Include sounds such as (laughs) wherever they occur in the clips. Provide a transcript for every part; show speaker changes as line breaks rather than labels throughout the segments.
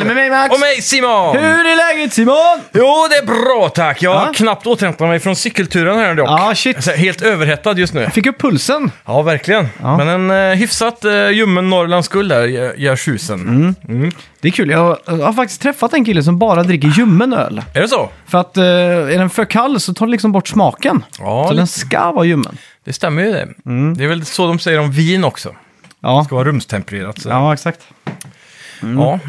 Eh, Max!
Och mig Simon!
Hur är läget Simon?
Jo, det är bra tack. Jag har
Ja.
knappt återhämtat mig från cykelturen här dock.
Ja, shit.
Jag är helt överhettad just nu.
Fick upp pulsen.
Ja, verkligen.
Ja.
Men en eh, hyfsat eh, ljummen Norrländsk guld där gör- gör tjusen.
Mm. Det är kul, jag har faktiskt träffat en kille som bara dricker ljummen öl.
Är det så?
För att eh, är den för kall så tar den liksom bort smaken.
Ja,
så den Mm. ska vara ljummen.
det stämmer ju det. Det är väl så de säger om vin också.
Ja,
Ska vara rumstempererat. Så. Ja.
ja Mm. exakt.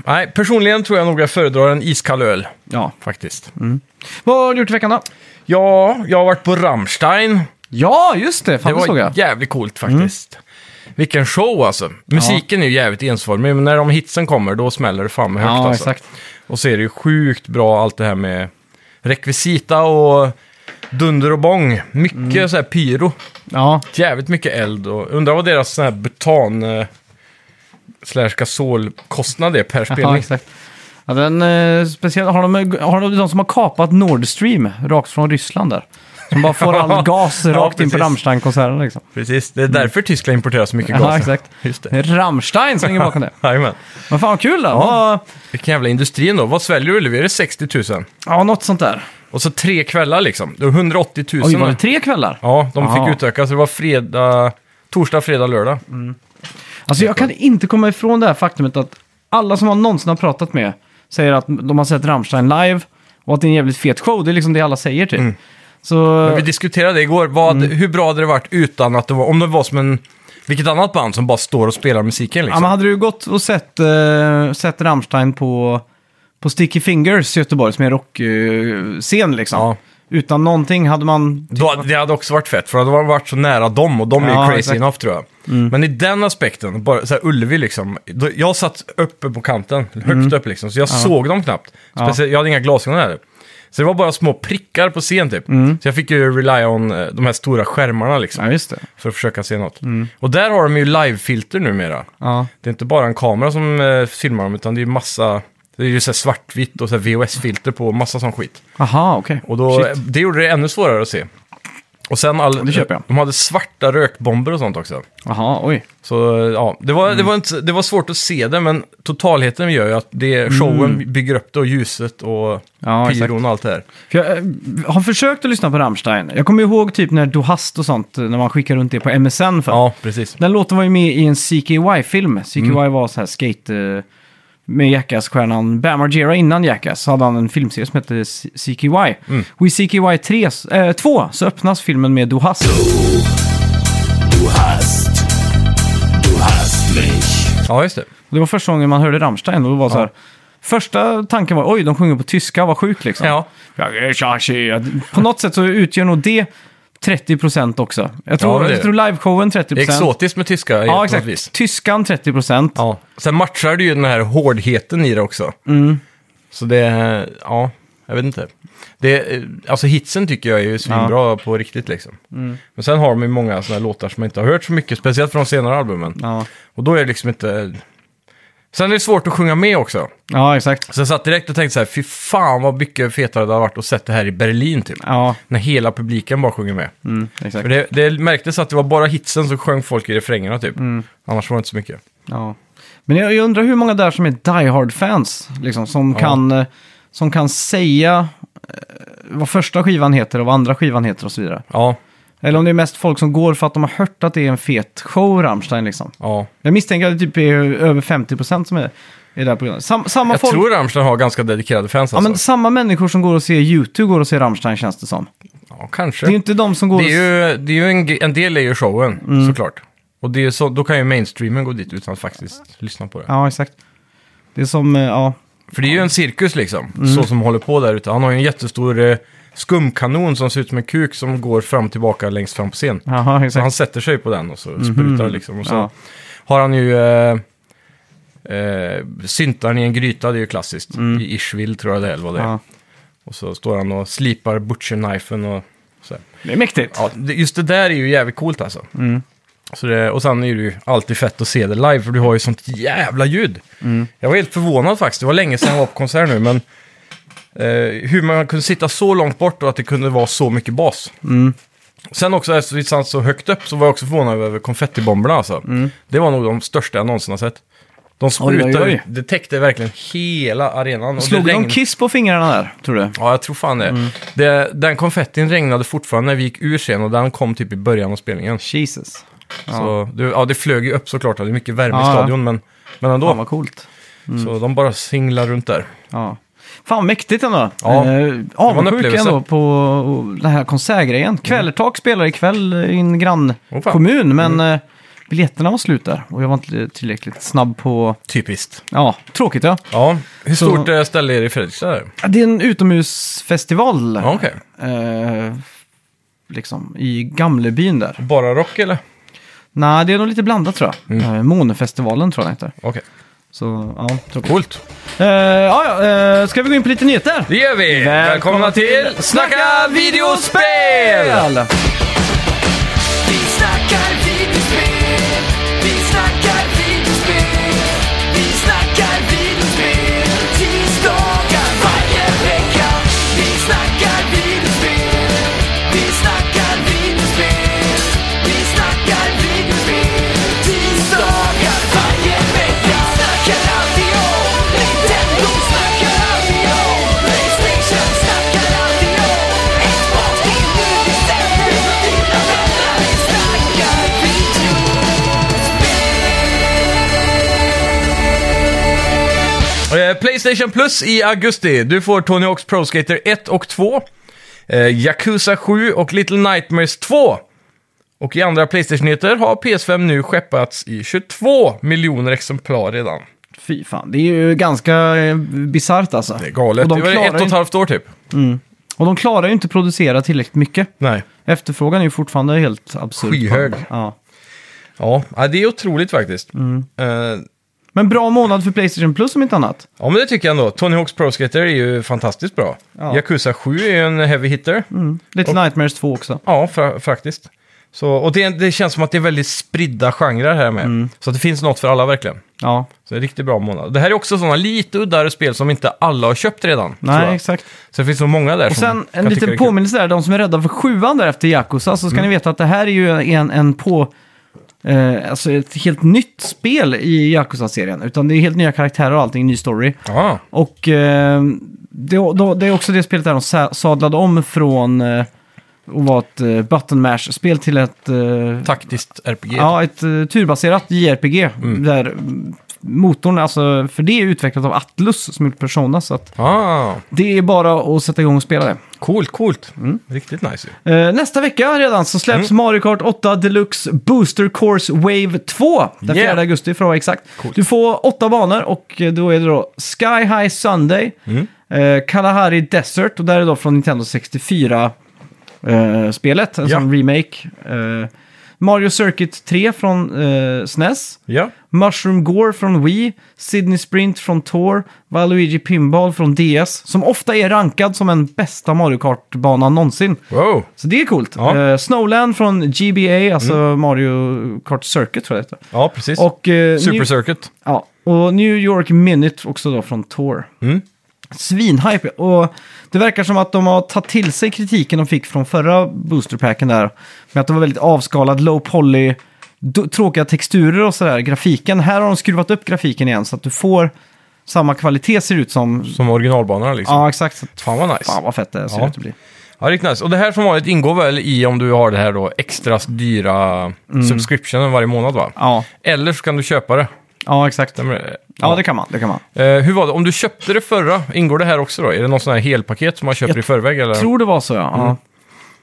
Nej, personligen tror jag nog jag föredrar en iskall öl,
Ja.
faktiskt.
Mm. Vad har du gjort i veckan då?
Ja, jag har varit på Rammstein.
Ja, just det. Fan,
Det
det, såg
var
jag. Mm.
jävligt coolt faktiskt. Vilken show alltså. Musiken är ju jävligt ensformig, men när de hitsen kommer då smäller det fan med högt
Ja,
alltså.
exakt.
Och så är det ju sjukt bra allt det här med rekvisita och dunder och bång. Mycket
Mm.
så här pyro.
Ja,
Jävligt mycket eld och undrar vad deras sån här butan eh, slash gasolkostnad är per
ja
spelning.
exakt. Ja, den, eh, speciellt, har, de, har de de som har kapat Nord Stream rakt från Ryssland där? Som bara (laughs) får all gas
Ja,
rakt in på
precis.
Rammstein-konserten liksom.
Precis, det är därför Tyskland importerar så mycket gas.
Ja, exakt.
Just
Det är Rammstein som ligger bakom
(laughs)
det.
Jajamän.
Men fan vad kul då. Ja,
Vilken jävla industri ändå. Vad sväljer Ullevi? Är det 60 000?
ja något sånt där.
Och så tre kvällar liksom. Det var 180 000.
Oj, var det tre kvällar?
Ja, de
Aha. Mm.
fick utöka så det var fredag, torsdag, fredag, lördag.
Alltså jag kan inte komma ifrån det här faktumet att alla som man någonsin har pratat med säger att de har sett Rammstein live och att det är en jävligt fet show. Det är liksom det alla säger typ. Så...
Mm. Vi diskuterade igår, vad,
Mm.
hur bra hade det varit utan att det var, om det var som en, vilket annat band som bara står och spelar musiken
Ja,
liksom.
men hade du gått och sett, eh, sett Rammstein på, på Sticky Fingers i Göteborg, som är en rockscen liksom.
Ja.
Utan någonting hade man...
Då, hade- det hade också varit fett, för då hade man varit så nära dem och de är ju
Typ Ja,
crazy
exakt. Mm.
enough tror jag. Men i den aspekten, bara så här Ullevi liksom, då, jag satt uppe på kanten, högt
Mm.
upp liksom, så jag såg dem knappt. Speciellt, Jag hade inga glasögon heller. Så det var bara små prickar på scen typ.
Mm.
Så jag fick ju rely on eh, de här stora skärmarna liksom.
Ja, just det.
för att försöka se något.
Mm.
Och där har de ju live-filter numera.
Ja.
Det är inte bara en kamera som eh, filmar dem, utan det är ju massa... Det är ju så här svartvitt och så här VHS-filter på och massa sån skit.
Aha, okej.
Och då,
Shit.
det gjorde det ännu svårare att se. Och sen all,
Det köper jag.
de hade svarta rökbomber och sånt också.
Aha, oj.
Så eh, ja, det var, det, var inte, det var svårt att se det, men totalheten gör ju att det, showen bygger upp det och ljuset och
Mm. Ja, exakt.
pyron och allt det här.
För jag eh, har försökt att lyssna på Rammstein. Jag kommer ihåg typ när Du Hast och sånt, eh, när man skickar runt det på MSN för.
Ja, precis.
Den låten var ju med i en CKY-film. CKY
Mm.
var så här skate... eh, Med Jackass-stjärnan Bam Margera innan Jackass så hade han en filmserie som hette C- CKY.
Mm.
Och i CKY 3, eh, 2 så öppnas filmen med Du Hast.
Du hast, du hast mich.
Ja, just det.
Och Det var första gången man hörde Rammstein och det var så här... Första tanken var oj, de sjunger på tyska, vad sjukt liksom.
Ja.
På något sätt så utgör nog det 30% också. Jag tror,
det är
jag tror liveshowen 30%.
Det är exotiskt med
Ja,
tyska på något vis.
exakt. Tyskan 30%.
Ja, sen matchar det ju den här hårdheten i det också.
Mm.
Så det, ja, jag vet inte. Det, alltså hitsen tycker jag är ju svinbra på riktigt liksom.
Mm.
Men sen har de ju många sådana här låtar som man inte har hört så mycket, speciellt från de senare albumen.
Ja,
Och då är det liksom inte... Sen är det svårt att sjunga med också.
ja exakt.
Så jag satt direkt och tänkte så här, fy fan vad mycket fetare det hade varit att sett det här i Berlin typ.
Ja,
När hela publiken bara sjunger med.
mm, exakt.
För det, det märktes att det var bara hitsen som sjöng folk i refrängerna typ.
Mm.
Annars var det inte så mycket.
Ja. Men jag, jag undrar hur många där som är Die Hard-fans, liksom, som,
Ja.
kan, eh, som kan säga eh, vad första skivan heter och vad andra skivan heter och så vidare.
Ja,
Eller om det är mest folk som går för att de har hört att det är en fet show, Rammstein. Liksom.
ja.
Jag misstänker att det typ är över 50% som är, är där på grund av Sam, samma
Jag
folk,
tror Rammstein har ganska dedikerade fans
ja,
alltså.
men Samma människor som går och ser YouTube går och ser Rammstein känns det som.
Ja, kanske.
Det är ju Mm. inte de som går
Det är
och...
ju, det är ju en, en del är ju showen, såklart. Och det är så, då kan ju mainstreamen gå dit utan att faktiskt lyssna på det.
Ja, exakt. Det är som, eh, ja.
För det är ju en cirkus liksom,
Mm.
så som håller på där ute. Han har ju en jättestor eh, skumkanon som ser ut som en kuk som går fram och tillbaka längst fram på scen.
Aha,
Så
exakt. Mhm.
han sätter sig på den och så sprutar liksom. Och så
Ja.
har han ju eh, eh, syntaren i en gryta, det är ju klassiskt. I Ishville tror jag det är, eller vad det är.
Mm. Ja.
Och så står han och slipar butcherknifen och så här.
Det är mäktigt.
Ja, det- just det där är ju jävligt coolt alltså.
Mm.
Så det, och sen är det ju alltid fett att se det live, för du har ju sånt jävla ljud.
Mm.
Jag var helt förvånad faktiskt, det var länge sedan jag var på konsert nu, men eh, hur man kunde sitta så långt bort och att det kunde vara så mycket bas.
Mm.
Sen också, eftersom vi satt så högt upp, så var jag också förvånad över konfettibomberna alltså. Det var nog de största jag någonsin har sett. De sprutade
Mm. Oj, oj, oj.
ut, det täckte verkligen hela arenan. Och
Slog
det
de
regn-
kiss på fingrarna där, tror du?
Ja, jag tror fan det. det. Den konfettin regnade fortfarande när vi gick ur scen och den kom typ i början av spelningen.
Jesus. Ja.
Så det, ja, det flög ju upp såklart, det är mycket värme
Ja,
i
ja.
stadion, men, men ändå.
Fan vad coolt.
Så de bara singlar runt där.
Ja. Fan vad mäktigt ändå.
Ja,
Eh, Avundsjuk
upplevelse.
ändå på och den här konsertgrejen. Kvällertak spelar ikväll i en
Åh, fan. Mm.
grannkommun, men eh, biljetterna var slut där. Och jag var inte tillräckligt snabb på...
Typiskt.
Ja, tråkigt ja.
Ja. Hur
Så-
stort eh, ställe är det i Fredrikstad? där?
Ja, Det är en utomhusfestival.
Ja, okej.
Eh, liksom i Gamlebyn där.
Bara rock eller?
Nej, det är nog lite blandat tror jag.
Mm.
Eh, Månefestivalen tror jag den heter.
Okej.
Så, ja, tråkigt.
Coolt.
Eh, ja, ja, eh, ska vi gå in på lite nyheter?
Det gör vi!
Välkomna
Välkomna, till Snacka videospel!
Vi snackar videospel, vi snackar videospel, vi snackar videospel tisdagar varje vecka. Vi snackar videospel, vi snackar videospel, vi snackar videospel tisdagar varje vecka. Snackar alltid om Nintendo, snackar alltid om Playstation, snackar alltid om Xbox, det är nu vi sänder med dina vänner. Vi snackar videospel.
Eh, Playstation Plus i augusti. Du får Tony Hawk's Pro Skater 1 och 2. Eh, Yakuza 7 och Little Nightmares 2. Och i andra Playstation-nyheter har PS5 nu skeppats i 22 miljoner exemplar redan.
Fy fan, det är ju ganska eh, bisarrt alltså.
Det är galet.
Och de,
det var ett
klarar
och ett
ju,
halvt år typ.
och de klarar ju inte producera tillräckligt mycket.
Nej.
Efterfrågan är ju fortfarande helt absurd.
Skyhög.
Ja.
Ja, ja, det är otroligt faktiskt.
Mm.
Eh,
Men bra månad för Playstation Plus om inte annat.
Ja, men det tycker jag ändå. Tony Hawk's Pro Skater är ju fantastiskt bra.
Ja.
Yakuza 7 är ju en heavy hitter.
Little Nightmares 2 också.
Ja, fra- faktiskt. Så, och det, det känns som att det är väldigt spridda genrer här med.
Mm.
Så att det finns något för alla verkligen.
Ja,
Så det är en riktigt bra månad. Det här är också sådana lite uddare spel som inte alla har köpt redan. tror
nej
jag.
exakt.
Så det finns så många där
Och
som
sen en
jag tycker
liten
är kul. Mm.
påminnelse där, de som är rädda för sjuan där efter Yakuza, så ska ni veta att det här är ju en, en på... Eh, alltså ett helt nytt spel i Yakuza-serien. Utan det är helt nya karaktärer och allting, ny story.
Ja,
Och eh, det, då, det är också det spelet där de sa- sadlade om från eh, att vara ett eh, button mash-spel till ett, eh,
taktiskt RPG.
ja, ett eh, turbaserat JRPG. Där mm, motorn, alltså, för det är utvecklat av Atlus som gjort Persona. Så att
Ah,
det är bara att sätta igång och spela det.
coolt, coolt.
Mm.
Riktigt nice ju.
Eh, nästa vecka redan så släpps
Mm.
Mario Kart 8 Deluxe Booster Course Wave 2. Den 4
Yeah.
augusti för att vara exakt. Du får åtta banor och eh, då är det då Sky High Sunday,
Mm.
eh, Kalahari Desert och där är det då från Nintendo 64-spelet, en
Ja.
sån remake. Eh, Mario Circuit 3 från eh, SNES.
Ja,
Mushroom Gore från Wii, Sydney Sprint från Tor, Valuigi Pinball från DS, som ofta är rankad som en bästa Mario Kart-banan någonsin.
wow.
Så det är coolt.
Ja.
Eh, Snowland från GBA, alltså Mario Kart Circuit tror jag det heter.
Ja, precis.
Och, eh,
Super
New,
Circuit.
ja, och New York Minute också då från Tor.
Mm.
Svinhype. Och det verkar som att de har tagit till sig kritiken de fick från förra boosterpacken där. Med att det var väldigt avskalad, low poly, d- tråkiga texturer och sådär. Grafiken. Här har de skruvat upp grafiken igen så att du får samma kvalitet ser ut som...
Som originalbanorna liksom.
Ja, exakt. Så att-
Fan vad nice.
Fan vad fett det ser
Ja.
ut att bli.
Ja, riktigt nice. Och det här som vanligt ingår väl i om du har det här då extra dyra subscriptionen varje månad va?
Mm. Ja,
Eller så kan du köpa det.
ja exakt.
Stämmer det?
Ja, det kan man. Det kan man.
Eh, hur var det? Om du köpte det förra, ingår det här också då? Är det någon sån här helpaket som man köper
Jag
i förväg? Eller?
Tror det var så ja. Mm. ja.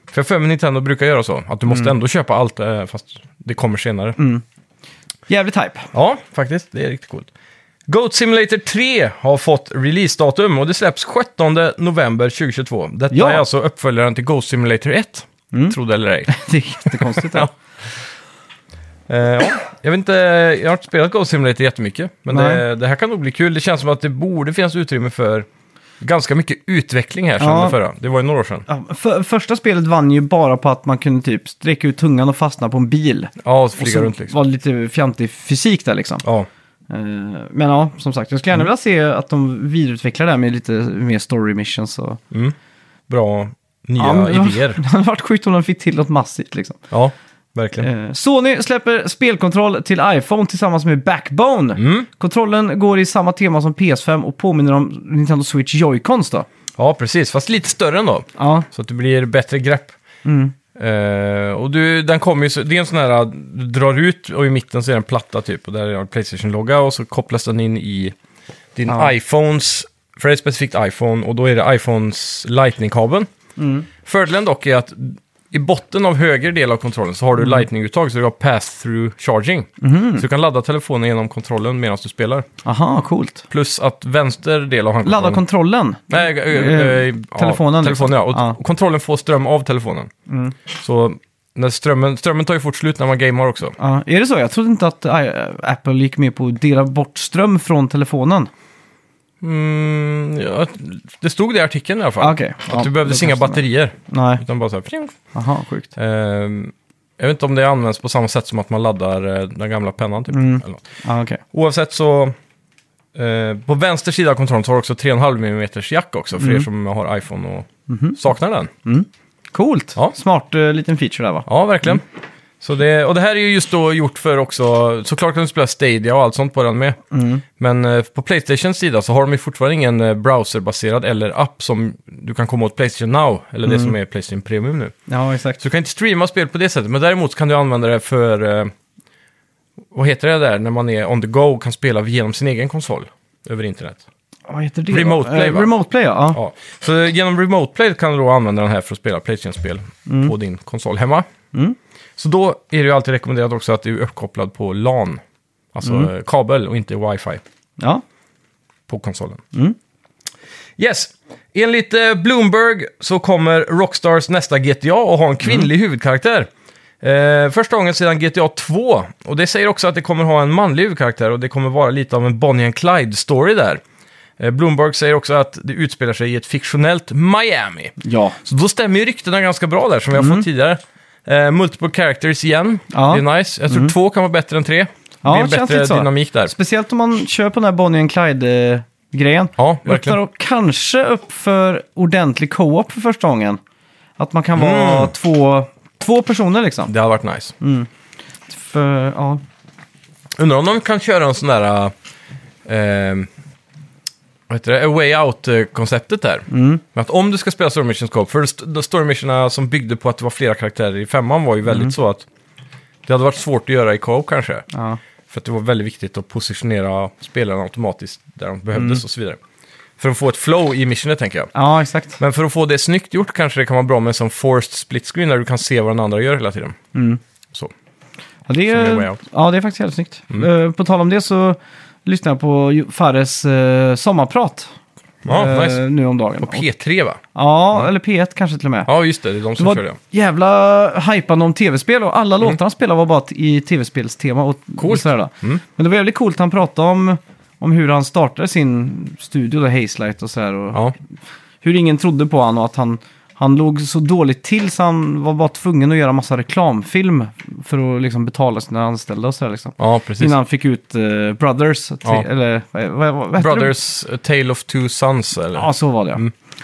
För jag har för mig Nintendo brukar göra så, att du måste
Mm.
ändå köpa allt eh, fast det kommer senare.
Jävligt hype.
Ja, faktiskt. Det är riktigt coolt. Goat Simulator 3 har fått releasedatum och det släpps 17 november 2022. Detta
Ja. Mm.
är alltså uppföljaren till Goat Simulator 1, tro det eller ej.
(laughs) Det är jättekonstigt. ja.
Eh, ja. Jag vet inte, jag har inte spelat Goat Simulator jättemycket, men
Nej.
det, det här kan nog bli kul. Det känns som att det borde finnas utrymme för ganska mycket utveckling här sen
Ja.
det förra. Det var ju några år sedan.
Ja, för, första spelet vann ju bara på att man kunde typ sträcka ut tungan och fastna på en bil.
Ja, och
Och
flyga
så
runt liksom.
var det lite fjantig fysik där liksom.
Ja.
Eh, Men ja, som sagt, jag skulle gärna vilja se att de vidareutvecklar det här med lite mer story missions och...
bra nya
ja, men det var-
idéer.
(laughs) Det hade varit sjukt om de fick till något massivt liksom.
Ja. verkligen.
Eh, Sony släpper spelkontroll till iPhone tillsammans med Backbone.
Mm.
Kontrollen går i samma tema som PS5 och påminner om Nintendo Switch Joy-Cons då.
Ja, precis. Fast lite större ändå.
Ja, mm.
Så att det blir bättre grepp. Eh, och du, den kommer ju, så- det är en sån här, du drar ut och i mitten så är det en platta typ. Och där är en Playstation-logga och så kopplas den in i din
Ja.
iPhones, för det är ett specifikt iPhone och då är det iPhones Lightning-kabeln.
Mm.
Fördelen dock är att i botten av höger del av kontrollen så har
Mm.
du Lightning-uttag så du har pass-through charging. Så du kan ladda telefonen genom kontrollen medan du spelar.
aha, coolt.
Plus att vänster del av handkontrollen...
Ladda kontrollen.
Nej, eh, eh,
Eh,
ja,
telefonen, liksom.
telefonen ja. Och,
Ja. Mm.
och kontrollen får ström av telefonen. Så när strömmen, strömmen tar ju fort slut när man gamar också.
Ja, är det så? Jag trodde inte att eh, Apple gick med på att dela bort ström från telefonen.
Mm, ja, det stod det i artikeln i alla fall.
Ah, Okej.
Att du behövde inga batterier.
Nej,
Utan bara så här, pling.
aha, sjukt.
Ehm, jag vet inte om det används på samma sätt som att man laddar eh, den gamla pennan. Typ.
Mm.
Eller något.
Ja, okej.
Oavsett så... Eh, på vänster sida av kontrollen så har du också 3,5 mm jack också för er som har iPhone och
Mhm.
saknar den.
Coolt!
Ja.
Smart eh, liten feature där va?
Ja, verkligen. Så det, och det här är ju just då gjort för också, såklart kan du spela Stadia och allt sånt på den med. Men eh, på Playstations sida så har de ju fortfarande ingen eh, browserbaserad eller app som du kan komma åt Playstation Now, eller det som är Playstation Premium nu.
Ja, exakt.
Så du kan inte streama spel på det sättet, men däremot kan du använda det för, eh, vad heter det där, när man är on the go och kan spela genom sin egen konsol över internet.
Vad heter det? då?
Remote Play,
Eh,
va?
Remote Play, ja.
Ja. Så genom Remote Play kan du då använda den här för att spela Playstation-spel på din konsol hemma. Så då är det ju alltid rekommenderat också att du är uppkopplad på LAN, alltså eh, kabel och inte wifi
ja.
på konsolen.
Mm.
Yes, enligt eh, Bloomberg så kommer Rockstars nästa GTA att ha en
Mm.
kvinnlig huvudkaraktär. Eh, första gången sedan GTA 2. Och det säger också att det kommer ha en manlig huvudkaraktär och det kommer vara lite av en Bonnie and Clyde-story där. Eh, Bloomberg säger också att det utspelar sig i ett fiktionellt Miami.
Ja.
Så då stämmer ju ryktena ganska bra där, som vi har fått tidigare. Eh, multiple characters igen,
Mm. Ja. Mm.
det är nice. Jag tror två kan vara bättre än tre.
Ja,
det är
känns lite så.
bättre dynamik där.
Speciellt om man kör på den här Bonnie and Clyde-grejen.
Ja,
Öppnar
verkligen.
och kanske upp för ordentlig co-op för första gången. Att man kan vara
Mm.
två, två personer liksom.
Det hade varit nice.
För, ja.
Undrar om de kan köra en sån där... Eh, vad heter det? A way out-konceptet där. Men att om du ska spela Story Missions Co-op, för st- de Story Missionerna som byggde på att det var flera karaktärer i femman var ju väldigt så att det hade varit svårt att göra i Co-op kanske.
ja.
För att det var väldigt viktigt att positionera spelarna automatiskt där de behövdes och så vidare. För att få ett flow i missionet tänker jag.
Ja, exakt.
Men för att få det snyggt gjort kanske det kan vara bra med en sån forced split screen där du kan se vad den andra gör hela tiden. Så.
Ja, det
Som är way
är,
out. Mm.
ja, det är faktiskt helt snyggt. Eh, på tal om det så lyssnar jag på Jo- Fares eh, sommarprat.
Ja,
eh,
nice.
Nu om dagen.
Och P3 va?
ja, eller P1 kanske till och med.
Ja, just det. Det är de
Det
som kör det.
var jävla hajpande om tv-spel och alla låtarna han spelade var bara t- i tv-spelstema. Och
Coolt. Mm.
Sådär då. Men det var jävligt coolt han pratade om, om hur han startade sin studio, då, Hazelight och sådär. Och
Ja.
Hur ingen trodde på honom och att han, han låg så dåligt till så han var bara tvungen att göra massa reklamfilm för att liksom betala sina anställda och sådär. Liksom.
Ja, precis.
Innan han fick ut eh, Brothers, till,
Ja.
eller vad, vad, vad heter det?
Brothers Mm. A Tale of Two Sons, eller?
Ja, så var det ja.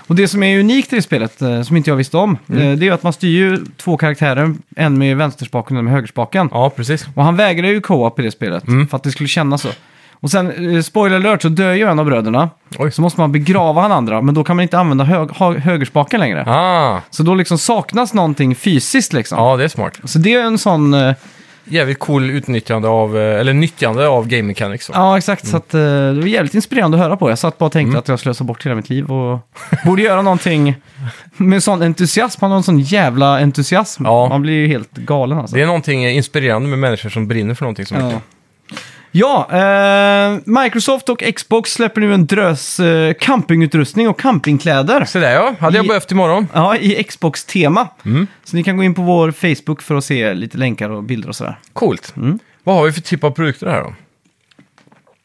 Och det som är unikt i det spelet, eh, som inte jag visste om,
Mm.
eh, det är ju att man styr ju två karaktärer, en med vänsterspaken och en med högerspaken.
Ja, Mm. precis.
Och han vägrar ju co-op i det spelet, för att det skulle kännas så. Och sen, eh, spoiler alert, så dör ju en av bröderna.
Oj.
Så måste man begrava han andra, men då kan man inte använda hög, ha- högerspaken längre.
Ah,
Så då liksom saknas någonting fysiskt liksom.
ja, det är smart.
Så det är en sån... eh,
Jävligt cool utnyttjande av, eh, eller nyttjande av game mechanics. då.
Ja, exakt.
Mm.
Så att, eh, det var jävligt inspirerande att höra på. Jag satt bara och tänkte att jag slösar bort hela mitt liv och (laughs) borde göra någonting med sån entusiasm. Man har en sån jävla entusiasm.
Ja.
Man blir ju helt galen alltså.
Det är någonting eh, inspirerande med människor som brinner för någonting så mycket.
Ja, ja eh, Microsoft och Xbox släpper nu en drös eh, campingutrustning och campingkläder.
Så där ja, hade jag
I-
behövt imorgon.
Ja, i Xbox-tema.
Mm.
Så ni kan gå in på vår Facebook för att se lite länkar och bilder och sådär.
Coolt.
Mm.
Vad har vi för typ av produkter här då?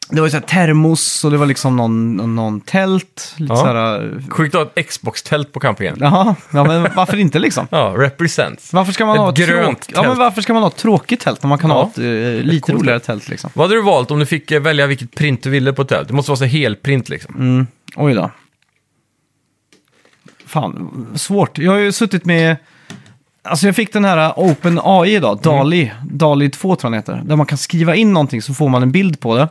Det var ju såhär termos och det var liksom någon, någon, någon tält. Lite
Ja.
såhär...
Sjukt att ha ett Xbox-tält på campingen.
Jaha, ja, men varför inte liksom?
Ja, represents.
Varför ska man
Ett
ha ett
grönt
tråk... ja, men
tält.
varför ska man ha ett tråkigt tält när man kan
Ja.
ha ett eh, lite
coolt
roligare tält liksom?
Vad hade du valt om du fick eh, välja vilket print du ville på ett tält? Det måste vara så här helprint liksom.
Mm. Oj då. Fan, svårt. Jag har ju suttit med Alltså jag fick den här Open AI idag, DALI, DALI 2 tror jag den heter. Där man kan skriva in någonting så får man en bild på det.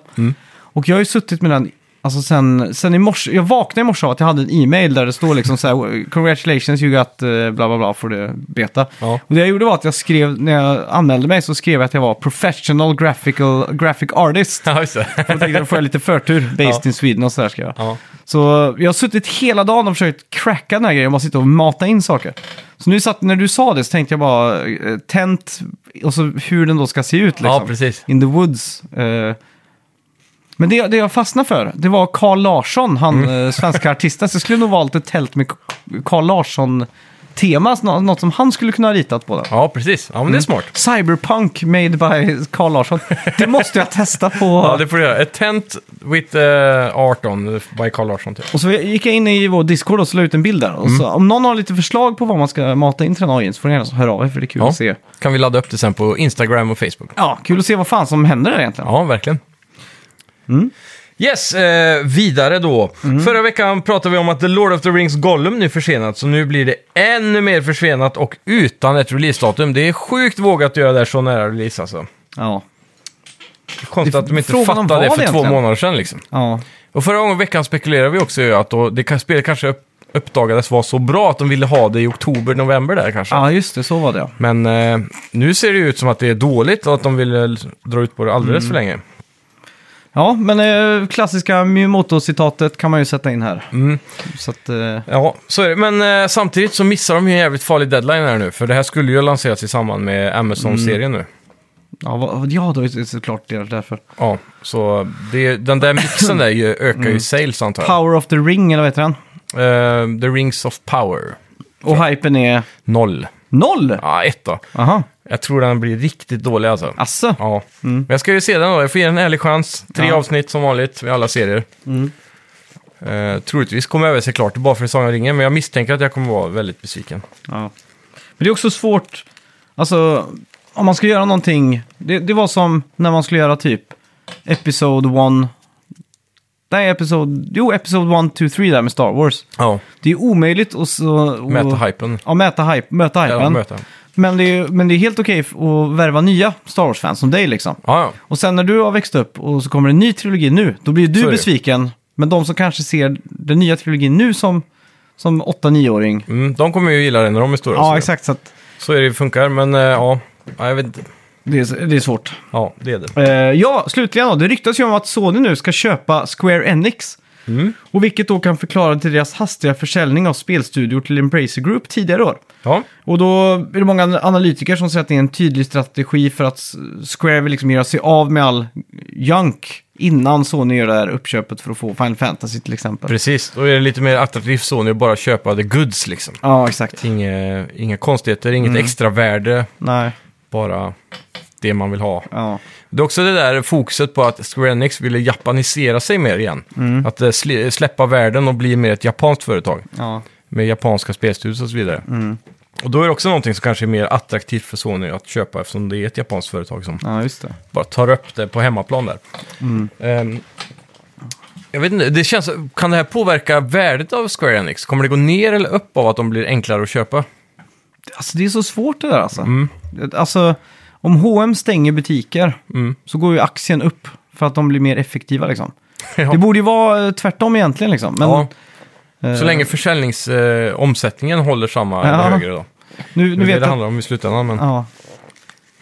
Och jag har ju suttit med den, alltså sen, sen i morse, jag vaknade i morse av att jag hade en e-mail där det står liksom så här, congratulations you got eh, bla bla bla för det beta.
Ja.
Och det jag gjorde var att jag skrev, när jag anmälde mig så skrev jag att jag var professional graphical, graphic artist.
(laughs) Ja, just det.
Jag tänkte då får jag lite förtur, based in Sweden och sådär ska jag.
Ja.
Så jag har suttit hela dagen och försökt cracka den här grejen, bara sitta och mata in saker. Så nu satt, när du sa det så tänkte jag bara, eh, tent, och så hur den då ska se ut liksom.
Ja, precis.
In the woods. eh. Men det, det jag fastnade för, det var Carl Larsson, han
Mm.
eh, svenska artisten. Så jag skulle nog valt ett tält med Carl Larsson-tema, nå- något som han skulle kunna ha ritat på den.
Ja, precis. Ja, men
Mm.
det är smart.
Cyberpunk made by Carl Larsson. Det måste jag testa på.
Ja, det får du göra. A tent with uh, art on by Carl Larsson, typ.
Och så gick jag in i vår Discord och så la ut en bild där. Och
Mm.
så, om någon har lite förslag på vad man ska mata in till den här AIn så får ni gärna höra av er för det är kul
Ja.
att se.
Kan vi ladda upp det sen på Instagram och Facebook?
Ja, kul att se vad fan som händer där egentligen.
Ja, verkligen.
Mm.
Yes, eh, vidare då. Förra veckan pratade vi om att The Lord of the Rings Gollum nu försenat, så nu blir det ännu mer försenat och utan ett releasedatum. Det är sjukt vågat att göra det här så nära release alltså.
Ja.
Konstigt
Det-
att de inte
frågan om
fattade det
vad
för två
egentligen?
månader sedan liksom.
ja.
Och förra gången veckan spekulerade vi också i att då, det kan- spelet kanske upp, uppdagades vara så bra att de ville ha det i oktober, november där kanske.
ja, just det. Så var det ja.
Men eh, nu ser det ju ut som att det är dåligt och att de vill eh, dra ut på det alldeles för länge.
Ja, men eh, klassiska Miyamoto-citatet kan man ju sätta in här.
Mm.
Så att, eh,
Ja, så är det. Men eh, samtidigt så missar de ju en jävligt farlig deadline här nu. För det här skulle ju lanseras i samband med Amazon-serien nu.
ja, vad- ja, då är det såklart det därför.
Ja, så det, den där mixen där ju, ökar ju sales antar jag.
Power of the ring, eller vad heter den?
Eh, the Rings of Power.
Och hypen är
Noll.
noll!
Ja, ett då.
Aha,
Jag tror den blir riktigt dålig alltså.
asså.
Ja. Men jag ska ju se den då. Jag får ge den en ärlig chans. Tre
Mm. Ja. Mm.
avsnitt som vanligt med alla serier. Eh, troligtvis kommer jag väl se klart det bara för Sagan om ringen, men jag misstänker att jag kommer vara väldigt besviken.
Ja. Men det är också svårt, alltså om man ska göra någonting, det, det var som när man skulle göra typ Episode 1, nej Episode, jo Episode 1, 2, 3 där med Star Wars.
Ja,
Det är omöjligt att så... och-
mäta hypen.
Ja, mäta hype, möta
Eller
hypen.
möta.
Men det, är, men det är helt okej f- att värva nya Star Wars-fans som dig liksom.
Ja, ja.
Och sen när du har växt upp och så kommer en ny trilogi nu, då blir
Så är
du
det.
besviken. Men de som kanske ser den nya trilogin nu som, som 8-9-åring,
Mm, de kommer ju gilla det när de är stora.
ja
så,
exakt, så att
så är det ju funkar, men eh, ja. ja, jag vet inte.
det är, det är svårt.
Ja, det är det.
Eh, ja, slutligen då. Det ryktas ju om att Sony nu ska köpa Square Enix.
Mm.
Och vilket då kan förklara till deras hastiga försäljning av spelstudior till Embracer Group tidigare år.
Ja,
Och då är det många analytiker som säger att det är en tydlig strategi för att Square vill liksom göra sig av med all junk innan Sony gör det här uppköpet för att få Final Fantasy till exempel.
precis. Då är det lite mer attraktivt så nu att bara köpa the goods liksom.
Ja, exakt.
Inge, inga konstigheter, inget
Mm.
extra värde,
Nej,
bara det man vill ha.
ja.
Det är också det där fokuset på att Square Enix ville japanisera sig mer igen.
Mm.
Att eh, sli- släppa världen och bli mer ett japanskt företag.
ja.
Med japanska spelstudios och så vidare.
Mm.
Och då är det också någonting som kanske är mer attraktivt för Sony att köpa eftersom det är ett japanskt företag som
Ja, just det.
bara tar upp det på hemmaplan där.
Mm.
Ehm, jag vet inte, det känns, kan det här påverka värdet av Square Enix? Kommer det gå ner eller upp av att de blir enklare att köpa? (laughs)
Alltså det är så svårt det där alltså.
Mm.
Alltså, om H&M stänger butiker
Mm.
så går ju aktien upp för att de blir mer effektiva liksom.
Ja.
Det borde ju vara eh, tvärtom egentligen liksom. Men
Ja.
eh,
Så länge försäljningsomsättningen håller samma eller
Ja.
högre
nu,
då. Det
nu
är det
vet
det
jag...
handlar om i slutändan. Men...
Ja.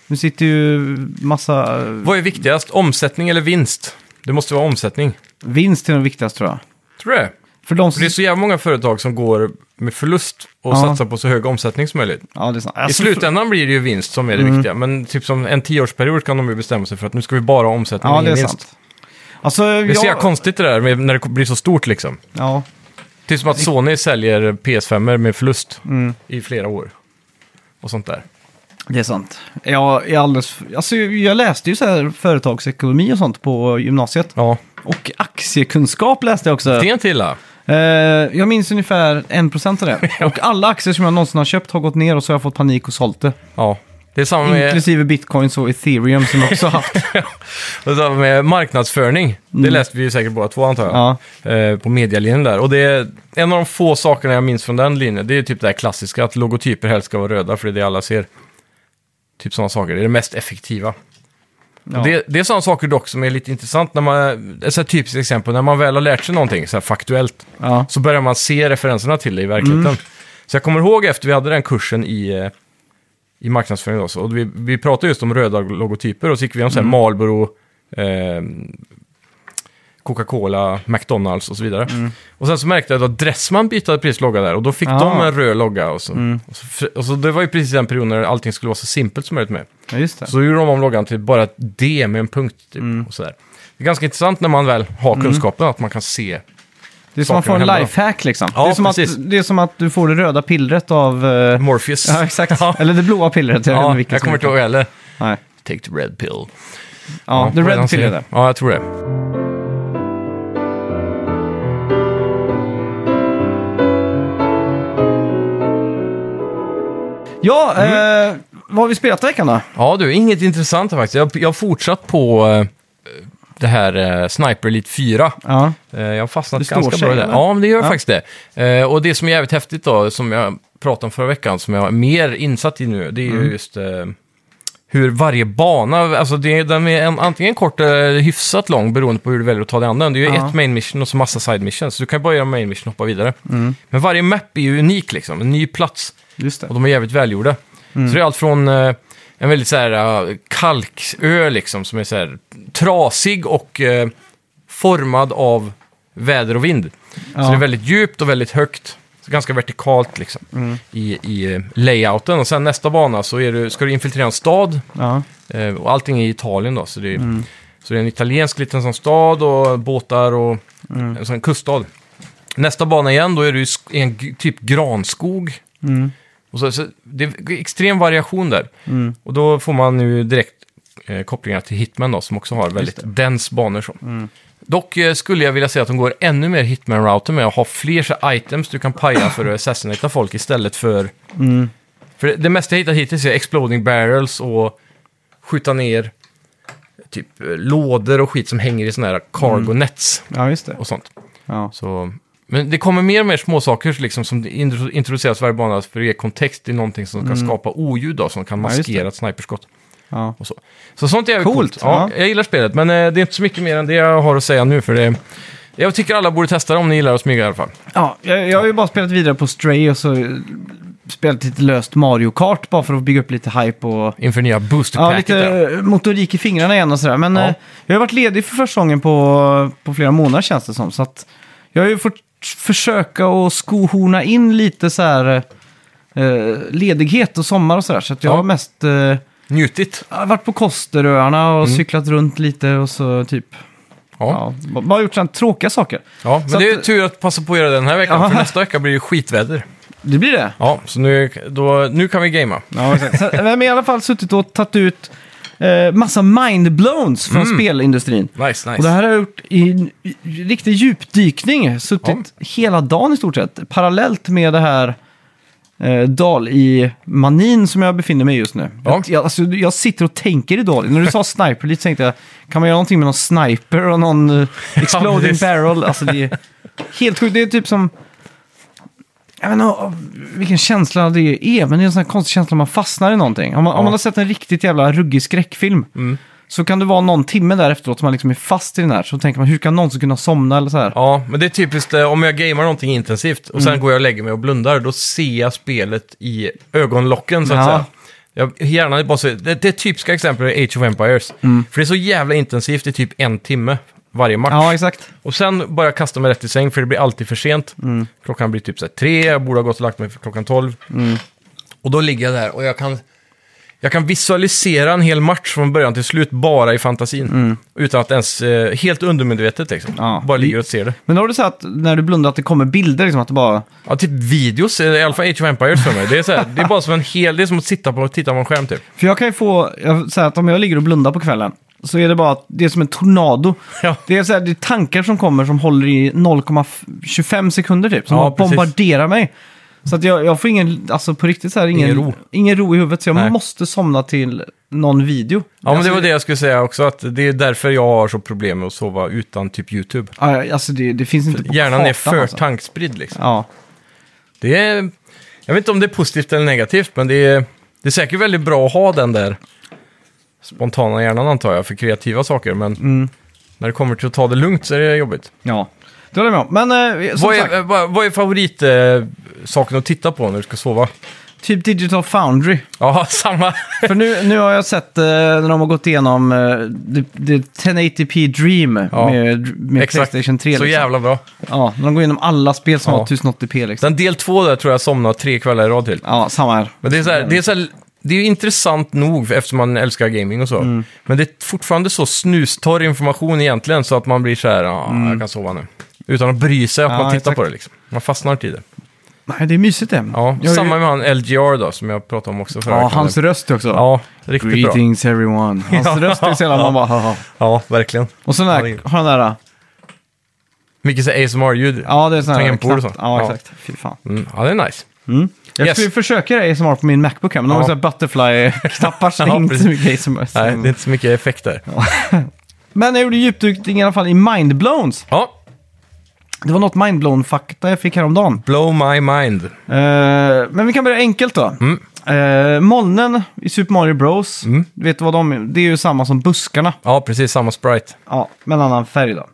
Nu sitter ju massa eh,
Vad är viktigast, omsättning eller vinst? Det måste vara omsättning.
vinst till de viktigaste tror jag.
Tror du det?
För de som...
För det är så jävla många företag som går med förlust och
Ja.
satsar på så hög omsättning som möjligt.
Ja, det är sant.
I
Alltså, Mm.
slutändan blir det ju vinst som är det viktiga, men typ som en tioårsperiod kan de ju bestämma sig för att nu ska vi bara ha omsättning och
Ja, det
ingen
är
vinst.
sant. Alltså,
Det är så
jag...
jävla konstigt det där med när det blir så stort liksom.
Ja.
Typ som att Sony säljer PS5 med förlust
Mm.
i flera år. Och sånt där.
Det är sant. Jag, är alldeles... alltså, jag läste ju så här företagsekonomi och sånt på gymnasiet.
Ja,
Och aktiekunskap läste jag också.
det är inte illa.
Eh, jag minns
(laughs)
ungefär 1% av det. Och alla aktier som jag någonsin har köpt har gått ner och så har jag fått panik och sålt det.
Ja. Det är samma med,
Inklusive bitcoins och ethereum som jag också
(laughs)
haft.
det är samma med marknadsföring. Det
Mm.
läste vi ju säkert båda två antar jag.
Ja.
eh, på medialinjen där. Och det är en av de få sakerna jag minns från den linjen. Det är ju typ det här klassiska, att logotyper helst ska vara röda, för det är det alla ser. Typ sådana saker, det är det mest effektiva.
Ja.
Och Det, det är sådana saker dock som är lite intressant, när man, ett så här typiskt exempel, när man väl har lärt sig någonting så här faktuellt,
Ja.
så börjar man se referenserna till det i verkligheten.
Mm.
Så jag kommer ihåg efter vi hade den kursen i, eh, i marknadsföring då, så, och vi, vi pratade just om röda logotyper och så gick vi om så här
Mm.
Marlboro, eh, Coca-Cola, McDonalds och så vidare.
Mm.
Och sen så märkte jag att Dressman bytte precis logga där och då fick
Ah. Mm.
de en röd logga. Och så, och, så, och så det var ju precis den perioden när allting skulle vara så simpelt som möjligt med.
ja, Mm. just det.
Så gjorde de om loggan till bara ett D med en punkt typ, och sådär. Det är ganska intressant när man väl har
Mm.
kunskapen att man kan se.
Det är som att få en
sakerna hända.
lifehack liksom.
Ja,
det, är som att,
precis.
det är som att du får det röda pillret av... eh, (laughs)
(laughs) Morpheus.
ja, exakt.
Ja,
Eller det blåa pillret. Jag, vet
ja,
inte vilket
jag
som är
kommer inte ihåg heller.
det. Nej.
Take the red pill.
Ja, the
vad är det han
red
säger?
pillret där.
Ja, jag tror det.
Ja,
Mm.
eh, vad har vi spelat i veckan då?
Ja, du, inget intressant faktiskt. Jag, jag har fortsatt på eh, det här eh, Sniper Elite 4.
Ja,
Eh, jag har fastnat
Det står
ganska
sig,
bra i det.
eller?
Ja, men det gör
Ja.
faktiskt det. Eh, och det som är jävligt häftigt då, som jag pratade om förra veckan, som jag är mer insatt i nu, det är
Mm.
ju just eh, hur varje bana, alltså det, är- den är en, antingen kort eller hyfsat lång beroende på hur du väljer att ta dig an den. Det är ju
Ja.
ett main mission och så massa side missions, så du kan bara göra main mission och hoppa vidare.
Mm.
Men varje map är ju unik liksom, en ny plats.
just det.
Och de är jävligt välgjorda. Så det är allt från eh, en väldigt så här eh, kalksö liksom, som är så här trasig och eh, formad av väder och vind.
Ja.
Så det är väldigt djupt och väldigt högt. Så ganska vertikalt liksom i, i eh, layouten. Och sen nästa bana så är du, ska du infiltrera en stad.
Ja,
Eh, och allting är i Italien då. Så det är, så det är en italiensk liten sån stad och båtar och en sån kuststad. Nästa bana igen, då är du i sk- i en g- typ granskog.
Mm.
Och så, så det är extrem variation där. Och då får man nu direkt eh, kopplingar till Hitman då, som också har väldigt dens banor. Så. Dock eh, skulle jag vilja säga att de går ännu mer Hitman-routen med att ha fler så här items du kan paja för att assassinata folk istället för... För det, det mesta jag hittat hittills är exploding barrels och skjuta ner typ eh, lådor och skit som hänger i såna här cargo nets
ja just det.
och sånt.
Ja.
Så, men det kommer mer och mer småsaker liksom, som intro- introduceras varje bana för att ge kontext till någonting som kan skapa oljud då, som kan
Mm. Ja, just
maskera
det.
ett sniperskott.
Ja.
Och så. så sånt är coolt.
Coolt,
coolt. Ja,
ja.
Jag gillar spelet, men eh, det är inte så mycket mer än det jag har att säga nu. För det, jag tycker alla borde testa det om ni gillar att smyga i alla fall.
Ja, jag, jag har ju bara spelat vidare på Stray och så eh, spelat lite löst Mario Kart bara för att bygga upp lite hype och
Inför nya booster
ja,
packet.
lite
där.
eh, motorik i fingrarna igen och sådär. Men
Ja.
eh, jag har varit ledig för första gången på, på flera månader känns det som. Så att jag har ju fått försöka att skohorna in lite så här eh, ledighet och sommar och sådär. Så att jag
Ja.
har mest eh,
Njutigt.
jag har varit på Kosteröarna och
Mm.
cyklat runt lite och så typ.
Ja.
Ja, b- bara gjort sådana tråkiga saker.
Ja, men
Så
det är
att-
ju tur att passa på att göra det den här veckan,
Ja.
för nästa vecka blir det skitväder.
Det blir det.
Ja, så nu, då, nu kan vi gamea.
Ja, exakt. Så, men i alla fall suttit och tagit ut eh, massa mindblowns från
Mm.
spelindustrin.
Nice, nice.
Och det här har jag gjort i en i- riktig djupdykning. Suttit hela dagen i stort sett. Parallellt med det här eh, dal i manin som jag befinner mig i just nu.
Ja.
Jag, jag, alltså, jag sitter och tänker i dal. När du sa sniper lite tänkte jag, kan man göra någonting med någon sniper och någon
(laughs)
eh, exploding
precis.
barrel? Alltså det är helt sjukt. Det är typ som... Jag vet inte vilken känsla det är, men det är en sån här konstig känsla när man fastnar i någonting. Om man, om man har sett en riktigt jävla ruggig skräckfilm så kan det vara någon timme där efteråt som man liksom är fast i den här. Så tänker man, hur kan någon så kunna somna eller så här?
Ja, men det är typiskt eh, om jag gamar någonting intensivt och
Mm.
sen går jag och lägger mig och blundar, då ser jag spelet i ögonlocken så att
Ja.
säga. Jag, hjärnan är bara så, det, det är typiska exempel i Age of Empires.
Mm.
För det är så jävla intensivt i typ en timme varje match.
Ja, exakt.
Och sen bara kasta mig rätt i säng för det blir alltid för sent.
Mm.
Klockan blir typ så här tre, jag borde ha gått och lagt mig för klockan tolv.
Mm.
Och då ligger jag där och jag kan, jag kan visualisera en hel match från början till slut bara i fantasin. Utan att ens, eh, helt undermedvetet liksom.
Mm. Ja.
Bara ligger och ser det.
Men har du så att när du blundar att det kommer bilder, liksom att det bara...
Ja, typ videos, eh, i alla fall Age of Empires för mig. Det är, så här, det är bara som en hel, det är som att sitta på, titta på en
(laughs)
skärm typ.
För jag kan ju få, jag säger att om jag ligger och blundar på kvällen så är det bara att det är som en tornado.
Ja.
Det, är så här, det är tankar som kommer som håller i 0,25 sekunder typ, som
Ja,
bara
precis.
bombarderar mig. Så att jag, jag får ingen, alltså på riktigt så här, ingen,
Ingen
ingen,
ro.
ro. i huvudet. Så jag
Nej.
måste somna till någon video.
Ja, men det
Alltså,
var det jag skulle säga också, att det är därför jag har så problem med att sova utan typ YouTube.
Ja, alltså det, det finns inte på
Hjärnan är
kartan,
för
alltså.
tankspridd liksom.
Ja,
Det är, jag vet inte om det är positivt eller negativt, men det är, det är säkert väldigt bra att ha den där spontana hjärnan antar jag, för kreativa saker. Men
Mm.
när det kommer till att ta det lugnt så är det jobbigt.
ja. Det håller jag med om. Men eh, som
Vad
sagt,
är, vad, vad är favoritsaken att titta på när du ska sova?
typ Digital Foundry.
Ja, (laughs) samma.
För nu, nu har jag sett eh, när de har gått igenom eh, det, det 1080p Dream
Ja,
med, med Playstation 3.
Så
liksom.
jävla bra.
Ja, när de går igenom alla spel som
Ja.
har 1080p liksom.
Den del två där tror jag somnade tre kvällar i rad till.
Ja, samma här.
Men det är, så här, det, är så här, det är ju intressant nog eftersom man älskar gaming och så.
Mm.
Men det är fortfarande så snustorr information egentligen så att man blir så här, ja, jag kan sova nu. Utan att bry sig att
Mm. Ja,
man tittar
exakt.
på det liksom. Man fastnar inte i det.
Nej, det är mysigt det.
Ja,
Jag har ju-
samma med han LGR då, som jag pratade om också förra
Ja,
veckan.
hans röst också.
Ja, riktigt bra.
Greetings everyone. Hans röst är så jävla man bara haha.
Ja, verkligen.
Och så den
Ja, det
där, har den där,
Mycket så här ASMR-ljud.
ja det är sån här
Tangentbord och så.
Ja,
Ja.
exakt. Fy fan.
Mm, ja, det är nice.
Jag
Yes.
skulle försöka det ASMR på min Macbook här, men de har
Ja.
ju sådana butterfly-knappar så det
(laughs) Ja,
är inte så
precis.
mycket ASMR.
Nej, det är inte så mycket effekt där. Ja,
Men jag gjorde djupdykning i alla fall i Mindblowns. Det var något Mindblown-fakta jag fick häromdagen.
blow my mind.
Eh, men vi kan börja enkelt då.
Mm.
Eh, molnen i Super Mario Bros, vet du vad de är? Det är ju samma som buskarna.
Ja, precis, samma sprite.
Ja, med en annan färg då.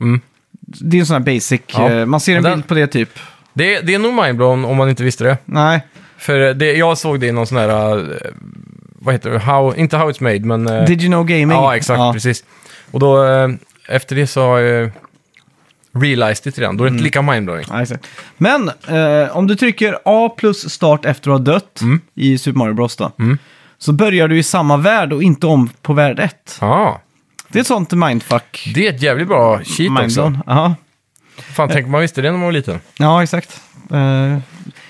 Det är en sån här basic,
Mm. Ja.
eh, man ser en
Men den-
bild på det typ.
Det, är- det är nog mindblown om man inte visste det.
Nej,
För eh, det, jag såg det i någon sån här, eh, vad heter det, how, inte how it's made, men... eh,
Did you know gaming?
Ja, exakt, precis. Och då, eh, efter det så har jag eh, realized det redan. Då är det
Mm.
inte lika mindblowing.
Ja, exakt. Men eh, om du trycker A plus start efter att ha dött
Mm.
i Super Mario Bros då, så börjar du i samma värld och inte om på värld 1.
Ja,
Det är ett sånt mindfuck.
det är ett jävligt bra cheat också.
mindblown. Ja.
Fan, tänk om man visste det när man var liten.
Ja, exakt. Eh,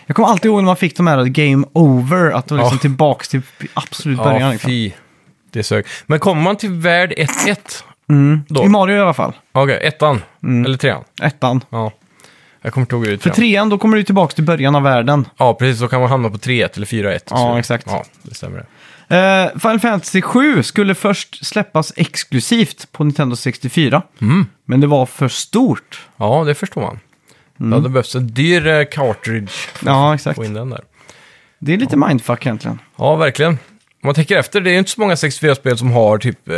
jag kommer alltid ihåg när man fick de här game over, att det var liksom
Ja.
tillbaks till absolut början.
Ja,
liksom.
fy. Det sög. Men kommer man till värld 1-1 då?
Mm. I Mario i alla fall,
Okej, ettan. Eller trean.
ettan.
Ja. Jag kommer inte ihåg hur det
För trean, då kommer du tillbaks till början av världen.
Ja, precis. Så kan man hamna på 3-1 eller 4-1.
Ja,
Så-
exakt.
Ja, det stämmer. det.
Eh, Final Fantasy 7 skulle först släppas exklusivt på Nintendo 64.
Mm.
Men det var för stort.
Ja, det förstår man. Det hade behövts en dyr eh, cartridge för
Ja,
att
exakt.
få in den där.
Det är lite mindfuck egentligen.
Ja, verkligen. Om man tänker efter, det är ju inte så många 64-spel som har typ... Eh,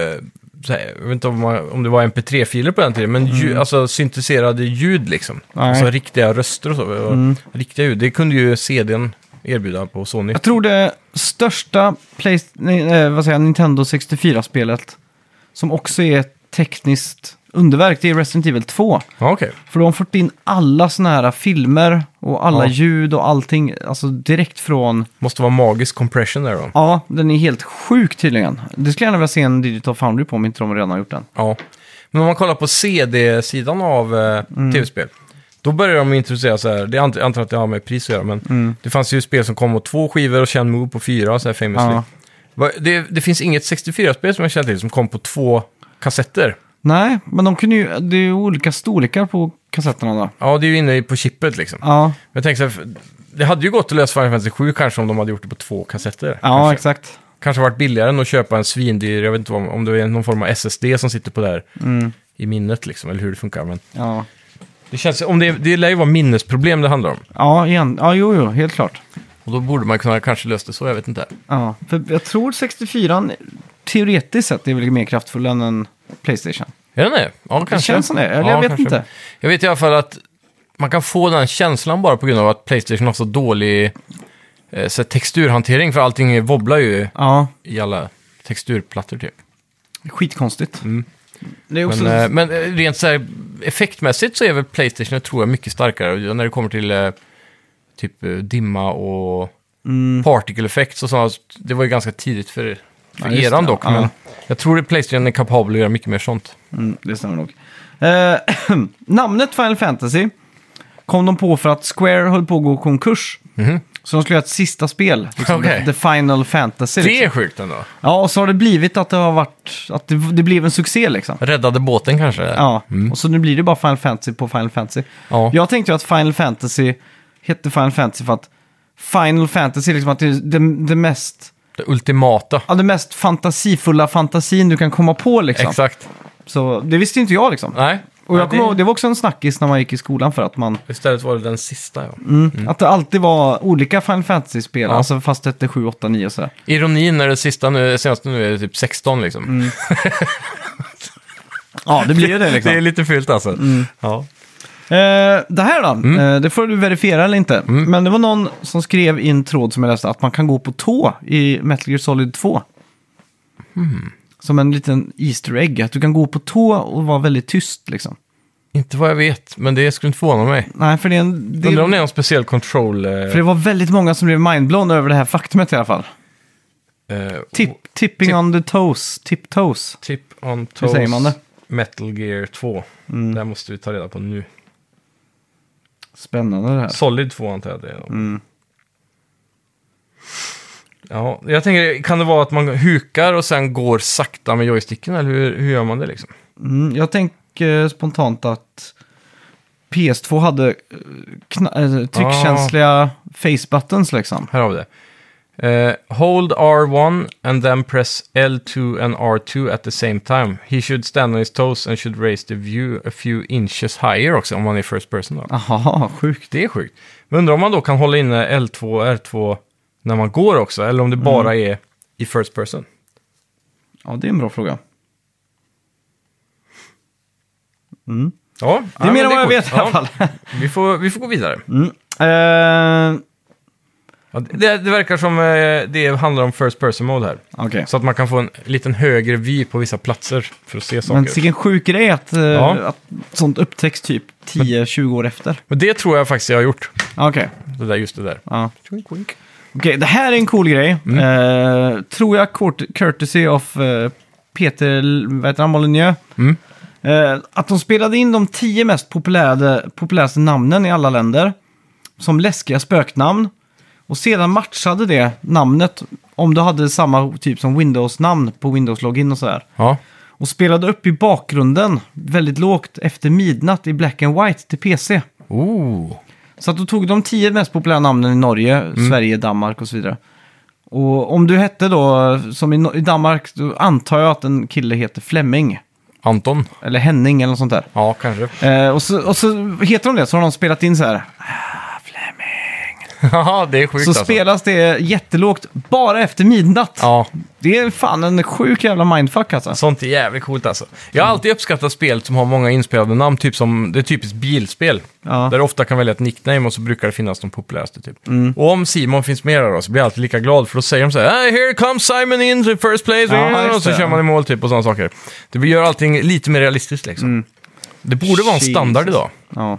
så här, jag vet inte om, man, om det var MP3-filer på den tiden, men ljud, alltså synteserade ljud liksom.
Nej.
Alltså riktiga röster och så. och Riktiga ljud. Det kunde ju CDn erbjuda på Sony.
Jag tror det största Play, nej, eh, vad säger jag, Nintendo 64-spelet, som också är ett tekniskt underverk, det är Resident Evil 2.
Ja, okej.
För de har fått in alla såna här filmer och alla
Ja.
ljud och allting, alltså direkt från...
Måste vara magisk compression där då.
Ja, den är helt sjuk tydligen. Det skulle jag gärna vilja se en Digital Foundry på om inte de redan har gjort den.
Ja. Men om man kollar på CD-sidan av eh,
Mm.
tv-spel, då börjar de introducera så här, det är ant- jag antar att det har med pris att göra, men
Mm.
det fanns ju spel som kom åt två skivor och Chen Move på fyra, så här famously.
Ja.
Va- Det, det finns inget 64-spel som jag känner till som kom på två kassetter.
Nej, men de kunde ju... Det är ju olika storlekar på kassetterna då.
Ja, det är ju inne i- på chippet liksom.
Ja,
Men jag tänker så här, för- det hade ju gått att lösa Final Fantasy 7 kanske om de hade gjort det på två kassetter.
ja
kanske.
exakt.
kanske varit billigare än att köpa en svindyr, jag vet inte om, om det är någon form av SSD som sitter på där
Mm.
i minnet liksom, eller hur det funkar. Men
Ja,
Det, känns, om det, det lär ju vara minnesproblem det handlar om.
ja, igen. ja jo, jo, helt klart.
Och då borde man kunna kanske lösa det så, jag vet inte.
Ja, för jag tror 64 teoretiskt sett är väl mer kraftfull än en Playstation.
Är den det? Ja, kanske.
känns som det, eller jag vet inte.
Jag vet i alla fall att man kan få den känslan bara på grund av att Playstation har så dålig eh, så här texturhantering, för allting wobblar ju
Ja,
i alla texturplattor typ.
skitkonstigt. Det är också...
Men, eh, men eh, rent så här, effektmässigt så är väl Playstation, tror jag, mycket starkare. Och När det kommer till eh, typ eh, dimma och
Mm.
particle effects och sådana. Det var ju ganska tidigt för, för
Ja, just
eran
det.
dock.
Ja.
Men jag tror att Playstation är kapabel att göra mycket mer sånt.
Mm, det stämmer nog. Eh, (clears throat) namnet Final Fantasy kom de på för att Square höll på att gå konkurs. Så de skulle göra ett sista spel, liksom,
Okej.
The Final Fantasy.
Det
Liksom.
är sjukt ändå.
Ja, och så har det blivit att det har varit, att det, det blev en succé liksom.
Räddade båten kanske?
Ja, och så nu blir det bara Final Fantasy på Final Fantasy.
Mm. Ja.
Jag tänkte ju att Final Fantasy hette Final Fantasy för att Final Fantasy, liksom att det är det, det mest...
Det ultimata.
Ja, det mest fantasifulla fantasin du kan komma på liksom.
Exakt.
Så det visste inte jag liksom.
Nej.
Och
Nej,
jag kommer
det-
ihåg, det var också en snackis när man gick i skolan för att man...
Istället var det den sista, ja.
Att det alltid var olika Final Fantasy-spel,
Mm. Ja.
alltså fast det hette 7, 8, 9 och sådär.
Ironin när det sista nu, senaste nu är det typ 16 liksom.
Mm.
(laughs)
Ja, det blir ju det liksom.
Det är lite fyllt alltså. Ja.
Eh, det här då,
Mm.
eh, det får du verifiera eller inte. Men det var någon som skrev i en tråd som jag läste att man kan gå på tå i Metal Gear Solid 2.
Hmm.
Som en liten Easter egg, att du kan gå på tå och vara väldigt tyst liksom.
Inte vad jag vet, men det skulle inte förvåna mig.
Nej, för det är en... Det,
Undrar om det är någon speciell control... eh,
för det var väldigt många som blev mindblown över det här faktumet i alla fall.
eh,
Tip, tipping
Tip-
on the toes, tip toes.
Tip on toes.
Hur säger man det? Mm.
Metal Gear 2. Det här måste vi ta reda på nu.
Spännande det här.
Solid 2 antar jag det är.
Mm.
Ja, jag tänker, kan det vara att man hukar och sen går sakta med joysticken? Eller hur, hur gör man det liksom?
Mm, jag tänker spontant att PS2 hade eh, kna- eh, tryckkänsliga
Ah.
face buttons liksom.
Här har vi det. Eh, hold R1 and then press L2 and R2 at the same time. He should stand on his toes and should raise the view a few inches higher också om man är first person då.
Aha, sjukt.
Det är sjukt. Men undrar om man då kan hålla inne L2 och R2 när man går också, eller om det bara är i first person.
Ja, det är en bra fråga.
Ja,
Det är mer
ja, men
än vad jag
coolt.
vet i alla
Ja,
fall.
Vi får, vi får gå vidare.
Mm.
Mm.
(laughs) Eh,
Ja, det, det verkar som eh, det handlar om first person mode här.
Okej.
Så att man kan få en liten högre vy på vissa platser för att se saker.
Men vilken sjuk grej att, eh,
Ja.
att sånt upptäcks typ 10-20 år efter.
Men det tror jag faktiskt jag har gjort.
Okej.
Det där, just det där.
Ja.
Twink, wink.
Okej, det här är en cool grej. Eh, tror jag court- courtesy of eh, Peter vad heter han, Molyneux.
Mm.
Eh, att de spelade in de tio mest populära, populäraste namnen i alla länder. Som läskiga spöknamn. Och sedan matchade det namnet om du hade samma typ som Windows-namn på Windows-login och sådär.
Ja.
Och spelade upp i bakgrunden väldigt lågt efter midnatt i black and white till PC.
Ooh.
Så att då tog de tio mest populära namnen i Norge,
Mm.
Sverige, Danmark och så vidare. Och om du hette då, som i, No- i Danmark, då antar jag att en kille heter Flemming.
Anton.
Eller Henning eller något sånt där.
Ja, kanske. (laughs)
Eh, och, så, och så heter de det, så har de spelat in så här.
Haha, det är sjukt
Så
alltså.
spelas det jättelågt bara efter midnatt.
Ja,
Det är fan en sjuk jävla mindfuck alltså.
sånt är jävligt coolt alltså. Jag har alltid uppskattat spel som har många inspelade namn, typ som det är typiskt bilspel.
Ja.
Där du ofta kan välja ett nickname och så brukar det finnas de populäraste typ.
Mm.
Och om Simon finns med där då så blir jag alltid lika glad för då säger de så här "Hey, “Here comes Simon in the first place”
Ja, just
och så
det.
kör man i mål typ och sådana saker. Det gör allting lite mer realistiskt liksom. Det borde vara en standard
Mm. Jesus.
idag.
Ja.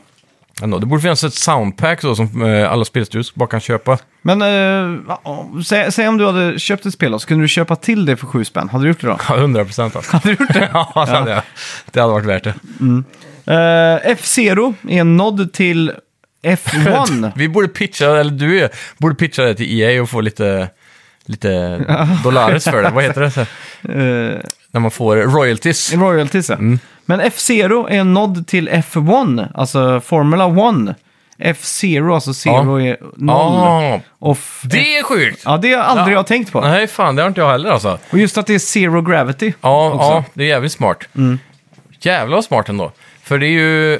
Ändå. Det borde finnas ett soundpack så, som eh, alla spelstudios bara kan köpa.
Men eh, ja, om- säg, säg om du hade köpt ett spel då, så kunde du köpa till det för sju spänn. Hade du gjort det då?
Ja, 100 procent alltså. (laughs) Hade du gjort det? (laughs) ja, det hade jag. Det hade varit värt det.
Eh, F-Zero är en nod till
(laughs)
F1.
Vi borde pitcha, eller du borde pitcha det till EA och få lite, (laughs) lite dollares för det. Vad heter det?
Eh,
När man får royalties.
royalties, ja.
Mm.
Men F-Zero är en nod till F1, alltså Formula 1. F-Zero, alltså zero är noll.
Ja,
Och f-
det är sjukt!
Ja, det har aldrig
Ja.
jag tänkt på.
Nej, fan, det har inte jag heller alltså.
Och just att det är zero gravity.
Ja,
också.
ja det är jävligt smart. Jävlar vad smart ändå. För det är ju...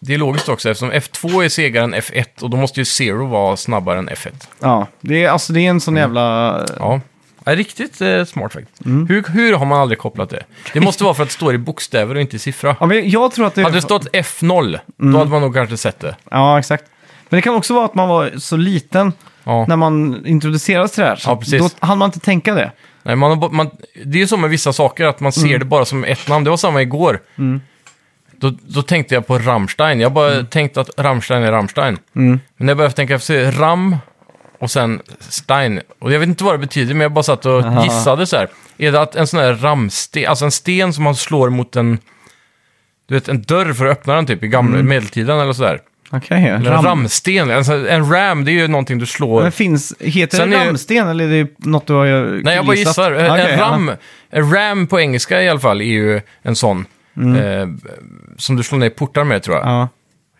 Det är logiskt också, eftersom F2 är segare än F1 och då måste ju Zero vara snabbare än F1.
Ja, det är, alltså, det är en
Mm.
sån jävla...
Ja. Ja, riktigt eh, smart faktiskt. Hur, hur har man aldrig kopplat det? Det måste vara för att det står i bokstäver och inte i siffra.
Ja, men jag tror att det...
Hade det stått F0, då hade man nog kanske sett det.
Ja, exakt. Men det kan också vara att man var så liten
Ja.
när man introducerades till det här. Så
Ja, precis.
Då hann man inte tänka det.
Nej, man har, bo- man, det är ju så med vissa saker, att man ser det bara som ett namn. Det var samma igår. Då, då tänkte jag på Rammstein. Jag bara tänkte att Rammstein är Rammstein. Men när jag började tänka efter, Ram och sen Stein. Och jag vet inte vad det betyder, men jag bara satt och gissade så här. Är det att en sån här ramsten, alltså en sten som man slår mot en, du vet, en dörr för att öppna den typ i gamla medeltiden eller sådär.
Okej,
Eller en ramsten, alltså, en ram det är ju någonting du slår.
Men finns, heter
Sen
det
är ju-
ramsten eller är det något du har ju
Nej, jag bara
gissat?
gissar. En-
Okej,
en,
ja.
ram, en ram på engelska i alla fall är ju en sån eh, som du slår ner portar med tror jag.
Mm. Ja.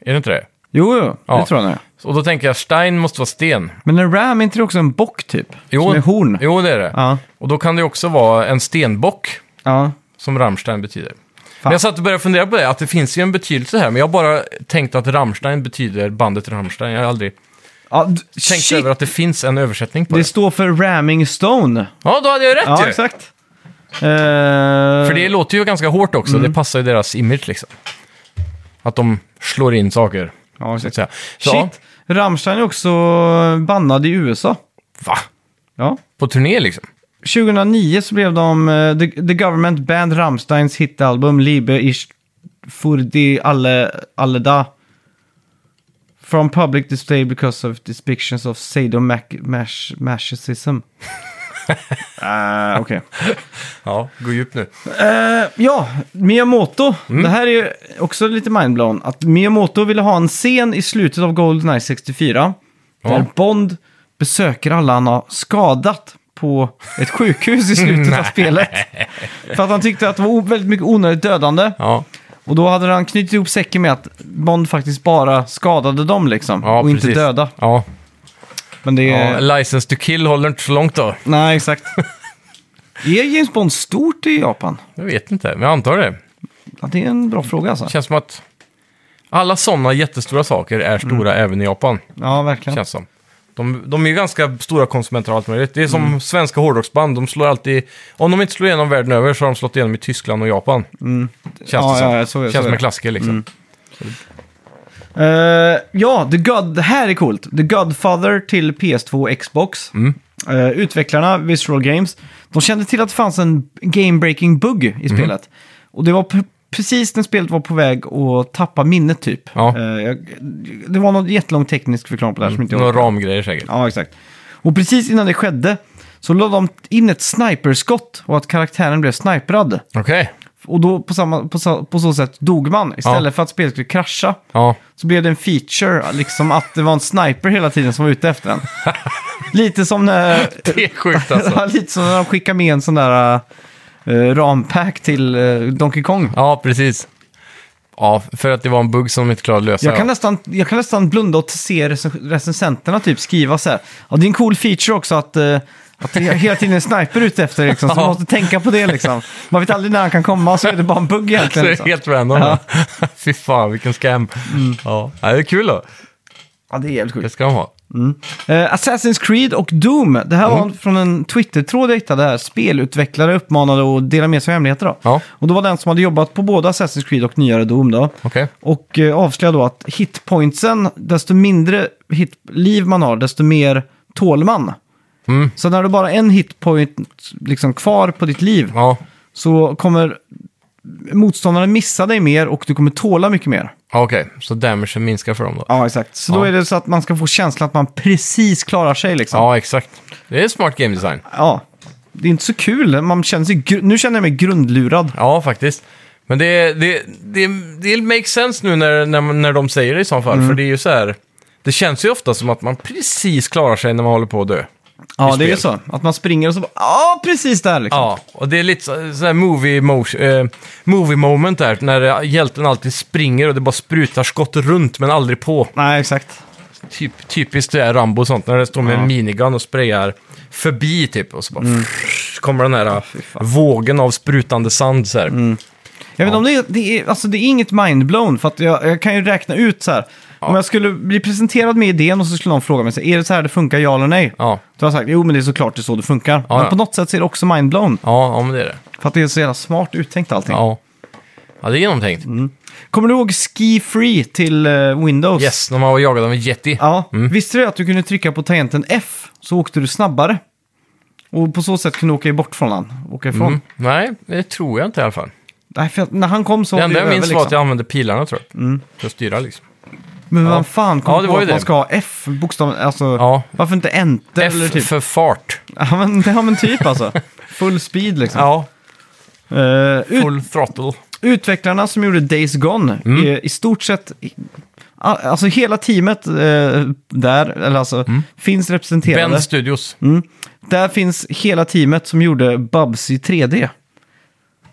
Är det inte det?
Jo, jo,
Ja.
det tror jag nog.
Och då tänker jag, Stein måste vara sten.
Men en ram, är inte det också en bock typ?
Jo,
Som är horn?
Jo, det är det.
Ja.
Och då kan det också vara en stenbock,
Ja.
som Rammstein betyder. Men jag satt och började fundera på det, att det finns ju en betydelse här, men jag har bara tänkt att Rammstein betyder bandet Rammstein. Jag har aldrig
ja d-
tänkt
shit!
över att det finns en översättning på det.
Det står för ramming stone.
Ja, då hade jag rätt
Ja,
ju!
exakt. Eh,
För det låter ju ganska hårt också, det passar ju deras image liksom. Att de slår in saker.
Ja,
Så att
exakt.
säga. Så,
Shit, Rammstein är också bannade i USA.
Va?
Ja.
På turné liksom?
2009 så blev de eh, the, the Government Band Rammsteins hitalbum Liebe ich für die alle, alle da. From public display because of depictions of sadomasochism. uh, Okej.
Ja, gå djupt nu.
Eh, ja, Miyamoto.
Mm.
Det här är ju också lite mindblown. Att Miyamoto ville ha en scen i slutet av Goldeneye 64. Där Bond besöker alla han har skadat på ett sjukhus i
(laughs)
slutet av spelet. För att han tyckte att det var o- väldigt mycket onödigt dödande.
Ja,
Och då hade han knutit ihop säcken med att Bond faktiskt bara skadade dem liksom.
ja
och
precis.
inte döda.
Ja.
Men det är...
ja, License to kill håller inte så långt då.
Nej,
(laughs)
exakt. är James Bond stort i Japan?
Jag vet inte, men jag antar det.
Ja, Det är en bra fråga alltså.
Känns som att alla sådana jättestora saker är stora även i Japan.
Ja, verkligen.
Känns som. De, de är ju ganska stora konsumenter av allt möjligt. Det är som svenska hårdrocksband, de slår alltid... Om de inte slår igenom världen över så har de slått igenom i Tyskland och Japan. Känns
Ja,
det som.
ja, ja, så är det, så är
Känns som
det.
en klassiker liksom.
Eh, ja, The God, det här är coolt. The Godfather till PS2 och Xbox.
Mm.
Eh, utvecklarna, Visceral Games, de kände till att det fanns en game-breaking bug i
Mhm.
spelet. Och det var p- precis när spelet var på väg att tappa minnet typ.
Ja. Mm.
Eh, jag, det var någon jättelång teknisk förklaring på det här som inte jag
Några ramgrejer säkert.
Ja, exakt. Och precis innan det skedde så lade de in ett sniperskott och att karaktären blev sniprad.
Okej.
Och då på, samma, på, så, på så sätt dog man istället
Ja.
för att spelet skulle krascha
Ja. (laughs)
så blev det en feature, liksom att det var en sniper hela tiden som var ute efter den. lite som när,
Det är sjukt (laughs) alltså.
(laughs) lite som när de skickar med en sån där uh, rampack till eh, Donkey Kong.
ja, precis. Ja, för att det var en bugg som de inte klarade att lösa.
Jag kan,
ja.
nästan, jag kan nästan blunda och se rec- recensenterna typ skriva så här. Ja, det är en cool feature också att, eh, att det är hela tiden är en sniper ute efter liksom, så man
(laughs) Ja.
måste tänka på det liksom. Man vet aldrig när han kan komma, så är det bara en bugg
Så (laughs)
egentligen.
det är
Liksom.
helt random.
Ja.
Fy fan, vilken scam. Ja. ja, det är kul då.
Mm. Ja, det är jävligt
Det
sjukt.
ska de ha.
Eh, Assassin's Creed och Doom. Det här
Mhm.
var från en Twitter-tråd jag hittade där spelutvecklare uppmanade att dela med sig av hemligheter. Då.
Ja.
Och då var den som hade jobbat på både Assassin's Creed och nyare Doom då.
Okej.
Och eh, avslöjade då att hitpointsen, desto mindre hit- liv man har, desto mer tål man.
Mm.
Så när du bara har en hitpoint liksom kvar på ditt liv
Ja.
så kommer motståndaren missa dig mer och du kommer tåla mycket mer.
Ja, Okej, så damagen minskar för dem då.
Ja, exakt. Så då
Ja.
är det så att man ska få känslan att man precis klarar sig liksom.
Ja, exakt. Det är smart game design.
Ja, det är inte så kul. Man känner sig gru- nu känner jag mig grundlurad.
Ja, faktiskt. Men det, det, det, det makes sense nu när, när, när de säger det i så fall,
Mm.
för det är ju så här... Det känns ju ofta som att man precis klarar sig när man håller på att dö.
Ja,
I
det är ju så.
spel.
Att man springer och så bara, ja, precis där liksom.
Ja, och det är lite så- så här movie, motion, eh, movie moment där, när eh, hjälten alltid springer och det bara sprutar skott runt men aldrig på.
Nej, exakt.
Typ, typiskt det är Rambo och sånt, när det står med en minigun och sprayar förbi typ och så bara
Mm.
frrrr, kommer den här eh, vågen av sprutande sand så här.
Mm. Jag vet inte om det är, det är, alltså det är inget mindblown, för att jag, jag kan ju räkna ut så här. Om jag skulle bli presenterad med idén och så skulle någon fråga mig, så här, är det så här det funkar, ja eller nej?
Ja.
Då har jag sagt, jo men det är såklart det är så det funkar.
Ja,
men
ja.
på något sätt så är det också mindblown,
Ja, ja men det är det.
för att det är så jävla smart uttänkt allting.
Ja, ja det är genomtänkt.
Mm. Kommer du ihåg Ski Free till eh, Windows?
Yes, när man var jagad av en yeti.
Ja, visste du att du kunde trycka på tangenten F så åkte du snabbare? Och på så sätt kunde du åka bort från han. Åka ifrån.
Mm. Nej, det tror jag inte i alla fall.
Nej, för att när han kom så
Det
var det ju
enda jag
över,
minns
liksom. Mm.
var att jag använde pilarna tror jag. För att styra liksom.
Men
Ja.
vad fan kom
Ja, det
på
var ju
att
det.
man ska ha F, bokstaven, alltså
Ja.
varför inte enter
F
eller typ?
för fart.
(laughs) Ja men, ja men typ alltså. Full speed liksom.
Ja,
Eh, ut,
full throttle.
utvecklarna som gjorde Days Gone,
Mm.
är i stort sett, i- a- alltså hela teamet eh, där, eller alltså,
Mm.
finns representerade.
Ben
Mm.
Studios.
Där finns hela teamet som gjorde Bubsy 3D.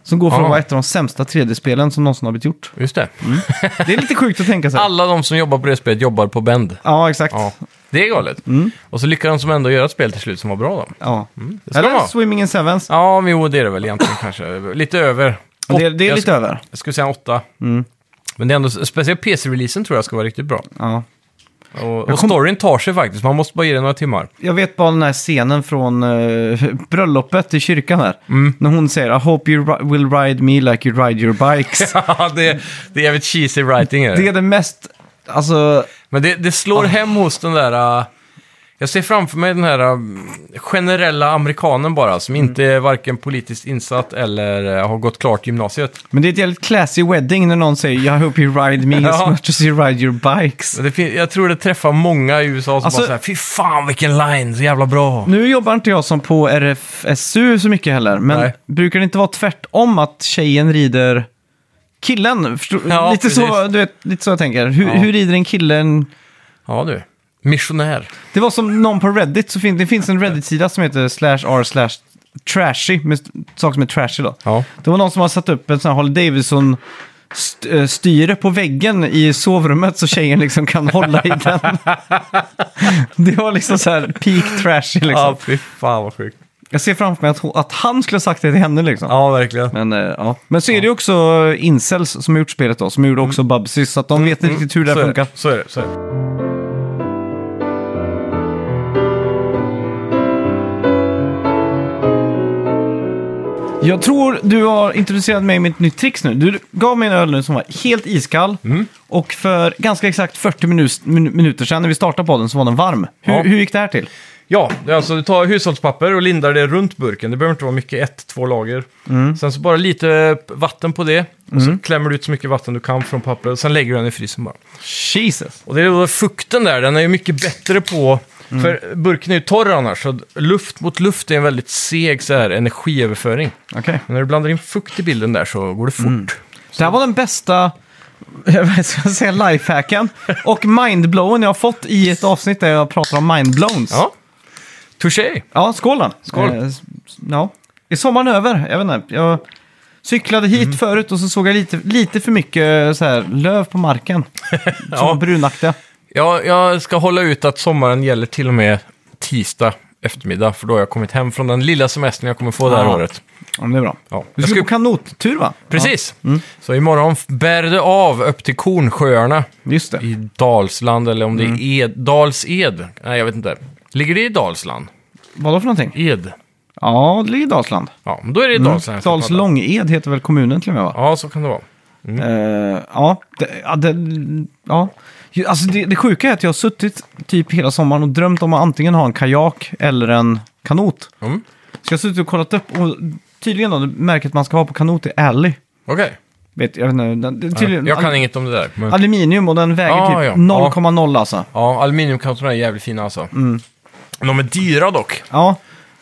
Som går för
Ja.
att vara ett av de sämsta 3D-spelen som någonsin har blivit gjort.
Just det.
Mm. Det är lite sjukt att tänka sig.
(laughs) Alla de som jobbar på det spelet jobbar på Bend.
Ja, exakt.
Ja,
Ja.
det är galet.
Mm.
Och så lyckades de ändå göra ett spel till slut som var bra då. Mm, det ska
Eller
det vara.
Swimming in Sevens.
Ja, men jo, det är det
(clears throat)
väl egentligen kanske. Lite över.
Det, det är
jag
lite
sk-
över. Mm.
Jag skulle säga en åtta. Men det är ändå, speciellt PC-releasen tror jag ska vara riktigt bra.
Ja.
Och, och storyn tar sig faktiskt, man måste bara ge det några timmar. (laughs)
Jag vet bara den här scenen från eh, (laughs) bröllopet i kyrkan här.
Mm.
När hon säger I hope you ri- will ride me like you ride your
(laughs)
bikes.
Ja, det, det är jävligt cheesy writing är det.
det är det mest, alltså,
Men det, det slår hem hos den där... äh, jag ser framför mig den här äh, generella amerikanen bara, som inte är varken politiskt insatt eller äh, har gått klart gymnasiet.
men det är ett jävligt classy wedding när någon säger I hope you ride me as
(laughs) Ja.
much as you ride your bikes.
Men Det fin- jag tror det träffar många i USA som
Alltså-
bara såhär, fy fan vilken line, så jävla bra.
Nu jobbar inte jag som på RFSU så mycket heller, men
Nej.
brukar det inte vara tvärtom att tjejen rider killen? Förstår-
Ja,
lite, så,
precis.
du vet, lite så jag tänker. Hur,
Ja.
hur rider en kille en...
Ja du, missionär.
Det var som någon på Reddit, så fin- det finns en Reddit-sida som heter slash r slash trashy, med st- saker som är trashy då.
Ja.
Det var någon som har satt upp en sån här Holly Davidson st- eh, styre på väggen i sovrummet så tjejen liksom kan hålla i den.
(laughs)
Det var liksom så här peak trashy liksom.
Ja, fy fan vad sjukt.
Jag ser framför mig att, hon, att han skulle ha sagt det till henne liksom.
Ja, verkligen.
Men, eh, ja. Men så är det ju också eh, incels som har gjort spelet då, som gjorde också Bubsy, så att de vet inte riktigt hur det
Mm. så
här
är
funkar.
Så är det, så är det.
Jag tror du har introducerat mig med ett nytt trix nu. Du gav mig en öl nu som var helt iskall.
Mm.
Och för ganska exakt 40 minus, min, minuter sedan när vi startade podden så var den varm. Hur,
Ja.
hur gick det här till?
Ja, det är alltså du tar hushållspapper och lindar det runt burken. Det behöver inte vara mycket, ett, två lager. Sen så bara lite vatten på det. Och så klämmer du ut så mycket vatten du kan från pappret. Och sen lägger du den i frysen bara.
Jesus.
Och det är då fukten där, den är ju mycket bättre på... För burken är ju torr annars, så luft mot luft är en väldigt seg så här, energiöverföring.
Okej.
Men när du blandar in fukt i bilden där så går det fort.
Det här var den bästa, (laughs) jag ska säga lifehacken, och mindblown jag har fått i ett avsnitt där jag pratar om mindblowns.
Ja, touché!
Ja, skål då.
Skål.
Eh, s- ja. Är sommaren över? Jag vet inte. Jag cyklade hit
Mm.
förut och så såg jag lite, lite för mycket eh, så här, löv på
(laughs)
marken. Som var brunaktiga.
Ja, jag ska hålla ut att sommaren gäller till och med tisdag eftermiddag, för då har jag kommit hem från den lilla semestern jag kommer få det här
Ah.
året.
Ja, men det är bra.
Ja.
Du
Jag
ska
ska-
på kanottur va?
Precis! Så imorgon f- bär det av upp till Kornsjöarna
Ja, just det.
i Dalsland, eller om det är Ed, Dals-Ed. Nej, jag vet inte. Ligger det i Dalsland?
Vadå för någonting?
Ed?
Ja, det ligger i Dalsland.
Ja, men då är det i Dalsland. jag ska
Dals
prata.
Långed heter väl kommunen till och med va?
Ja, så kan det vara.
Eh, ja, det, ja, det, ja. Ju- Alltså det, det sjuka är att jag har suttit typ hela sommaren och drömt om att antingen ha en kajak eller en kanot.
Mm.
Så jag har suttit och kollat upp och tydligen då, det märket man ska ha på kanot är alley.
Okej.
Vet, jag, vet inte, den- det är tydligen,
Jag kan
al-
inget om det där. Men...
Aluminium och den väger
Ah,
typ
ja.
0,0 alltså.
Ja, aluminiumkanterna är jävligt fina alltså. De är dyra dock.
Ja.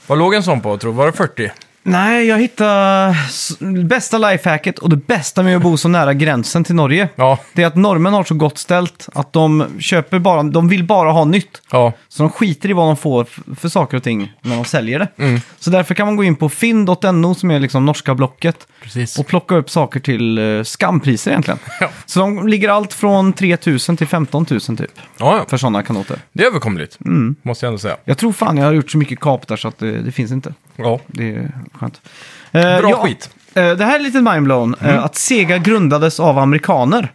Vad låg en sån på, tror du? Var det 40?
Nej, jag hittade s- bästa lifehacket och det bästa med att bo så nära gränsen till Norge.
Ja.
Det är att norrmän har så gott ställt att de köper bara, de vill bara ha nytt.
Ja.
Så de skiter i vad de får f- för saker och ting när de säljer det.
Mm.
Så därför kan man gå in på finn.no som är liksom norska blocket
Precis.
och plocka upp saker till eh, skampriser egentligen.
(laughs) Ja.
Så de ligger allt från 3 000 till 15 000 typ
Ja, ja.
för sådana kanoter.
Det är överkomligt. Måste jag ändå säga.
Jag tror fan jag har gjort så mycket kap där så att eh, det, det finns inte.
Ja.
Det är skönt. Eh,
Bra skit. Mm.
eh, det här är lite mindblown. Eh, att Sega grundades av amerikaner.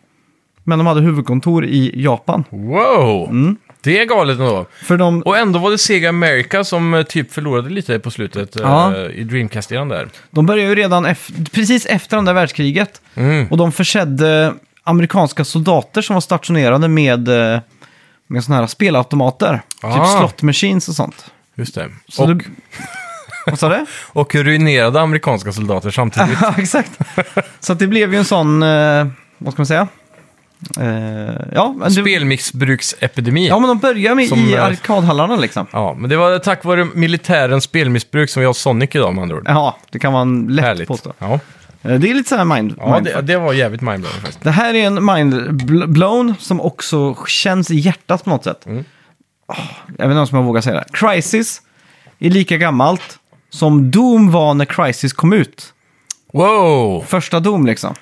Men de hade huvudkontor i Japan.
Wow! Det är galet ändå.
För de...
Och ändå var det Sega America som eh, typ förlorade lite på slutet eh,
Ja.
i Dreamcast-eran där.
De började ju redan ef- precis efter andra världskriget.
Mm.
Och de försedde amerikanska soldater som var stationerade med, eh, med sådana här spelautomater. Typ
Ah.
slot machines och sånt.
Just det.
Så
och,
det- Vad sa
(laughs)
du?
och ruinerade amerikanska soldater samtidigt.
ja, exakt. Så att det blev ju en sån, eh, vad ska man säga? Eh, ja, men det-
Spelmissbruksepidemi.
ja, men de börjar med
Som,
i
eh,
arkadhallarna liksom.
Ja, men det var tack vare militärens spelmissbruk som vi har Sonic idag med andra ord.
Ja, det kan man lätt
Härligt.
påstå.
Ja,
Eh, Det är lite så här mind,
ja
mind
det, det var jävligt mindblowing faktiskt.
Det här är en mindblown som också känns i hjärtat på något sätt.
Mm.
Ah, jag vet inte ens om jag vågar säga det. här. Crisis är lika gammalt som Doom var när Crisis kom ut.
Wow!
Första Doom liksom.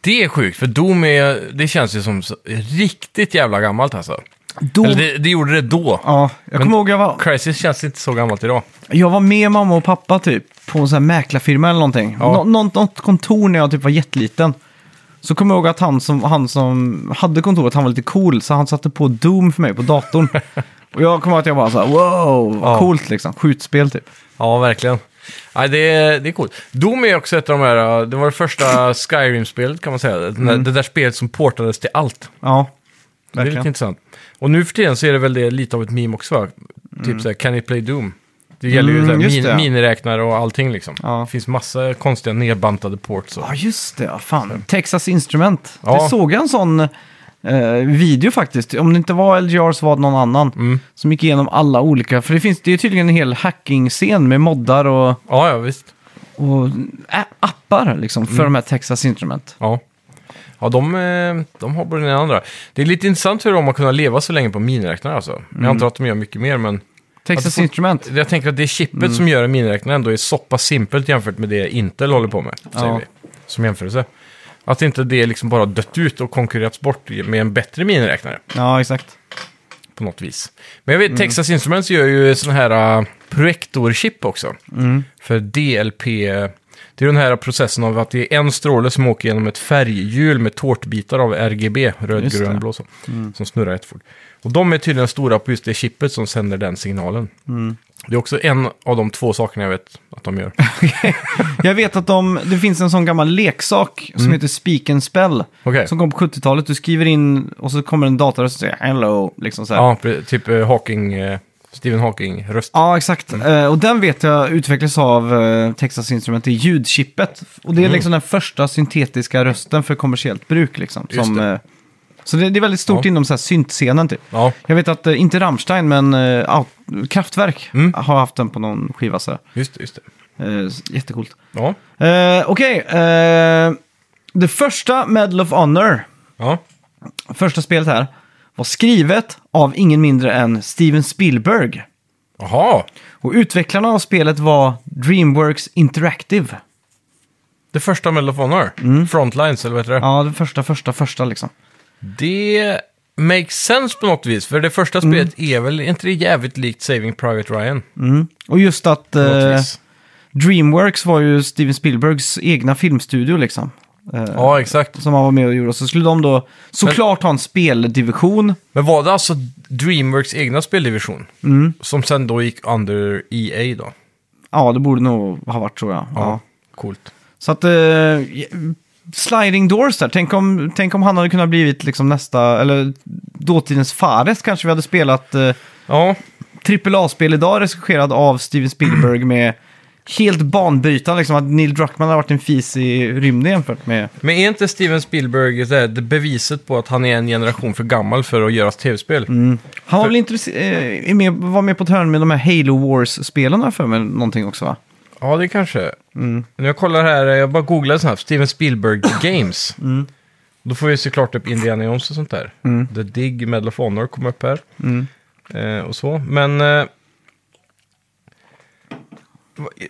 Det är sjukt, för Doom är, det känns ju som så, riktigt jävla gammalt alltså.
Doom...
Eller det, det gjorde det då.
Ja, jag
Men-
kommer ihåg jag var,
Crisis känns inte så gammalt idag.
jag var med mamma och pappa typ på en sån här mäklarfirma eller någonting.
Ja.
Nå- något, något kontor när jag typ var jätteliten. Så kommer jag ihåg att han som, han som hade kontoret, han var lite cool, så han satte på Doom för mig på
(laughs)
datorn. och jag kommer ihåg att jag bara så här, wow, vad
Ja.
coolt liksom. Skjutspel typ.
Ja, verkligen. Nej, det, är- det är coolt. Doom är också ett av de här, det var det första Skyrim-spelet kan man säga. Det-
Mm.
Det där spelet som portades till allt.
Ja,
Det är
verkligen.
lite intressant. Och nu för tiden så är det väl det lite av ett meme också, va? Typ såhär, can it play Doom? Det gäller ju
Mm,
såhär,
just
min,
det, ja.
miniräknare och allting liksom.
Ja.
Det finns massa konstiga nedbantade ports. Och...
Ja, just det. ja, Fan. Texas Instrument.
Ja.
Jag såg en sån eh, video faktiskt. Om det inte var LGR så var det någon annan. Som gick igenom alla olika. För det, finns, det är tydligen en hel hacking-scen med moddar och,
Ja, ja, visst.
och ä- appar liksom, för de här Texas Instrument.
Ja. Ja, de, eh, de har både den ena och den andra. Det är lite intressant hur de har kunnat leva så länge på miniräknare alltså.
Mm.
Jag antar att de gör mycket mer, men
Texas
Att få-
Instrument.
jag tänker att det chippet som gör en miniräknare ändå är så pass simpelt jämfört med det Intel håller på med, säger
Ja.
vi, som jämförelse. Att inte det liksom bara dött ut och konkurrerats bort med en bättre miniräknare.
Ja, exakt.
på något vis. Men jag vet, Texas Instruments gör ju sån här uh, projektorchip också.
Mm.
För DLP, eh, det är den här processen av att det är en stråle som åker genom ett färghjul med tårtbitar av RGB, röd,
Just
grön,
det. Mm.
blå, så, som snurrar jättefort. Och de är tydligen stora på just det chippet som sänder den signalen.
Mm.
Det är också en av de två sakerna jag vet att
(laughs)
de gör.
Jag vet att de, det finns en sån gammal leksak som heter Speak and Spell.
Okej.
Som kom på 70-talet. Du skriver in och så kommer en dator och så säger hello. Liksom så här.
ja, pre- typ eh, Hawking, eh, Stephen Hawking-röst.
Ja, exakt.
Mm.
Eh, och den vet jag utvecklas av eh, Texas Instrument, det är ljudchippet. Och
Mm.
det är liksom den första syntetiska rösten för kommersiellt bruk. Liksom,
Just
som,
det.
eh, så det, det är väldigt stort
Ja.
inom så här, syntscenen. Typ.
Ja.
Jag vet att, eh, inte Rammstein, men eh, Out- Kraftwerk
Mm.
har haft den på någon skiva. Så,
Just det, just det.
uh, jättecoolt.
Ja,
Eh, Okej, eh, det första Medal of Honor,
ja.
första spelet här, var skrivet av ingen mindre än Steven Spielberg.
Jaha,
Och utvecklarna av spelet var Dreamworks Interactive.
det första Medal of Honor. Frontlines, eller vad heter det?
Mm. Ja, den första, första, första liksom.
Det makes sense på något vis, för det första
Mm.
spelet är väl inte det jävligt likt Saving Private Ryan?
Eh. Mm. Och just att
På något
eh,
vis.
Dreamworks var ju Steven Spielbergs egna filmstudio liksom. Eh,
Ja, exakt.
Som han var med och gjorde. Och Så skulle de då såklart ha en speldivision.
Men var det alltså Dreamworks egna speldivision? Som sen då gick under EA då?
Mm. Ja, det borde nog ha varit tror jag. Ja.
Coolt.
Så att... Eh, sliding Doors där. Tänk om, tänk om han hade kunnat blivit liksom nästa... Eller dåtidens Fares kanske vi hade spelat... Eh,
Ja,
AAA-spel idag regisserad av Steven Spielberg med helt banbrytande. Liksom att Neil Druckmann har varit en fis i rymden jämfört med...
men är inte Steven Spielberg det här- det beviset på att han är en generation för gammal för att göra tv-spel?
Mm. Han var väl intresserad, med, var med på ett hörn med de här Halo Wars-spelen har jag för mig någonting också va?
Ja, det kanske. När jag kollar här, jag bara googlade snabbt, Steven Spielberg (laughs) Games. Då får vi såklart upp Indiana Jones och sånt där. The Dig, Medal of Honor kommer upp här. Eh, och så, men... Eh,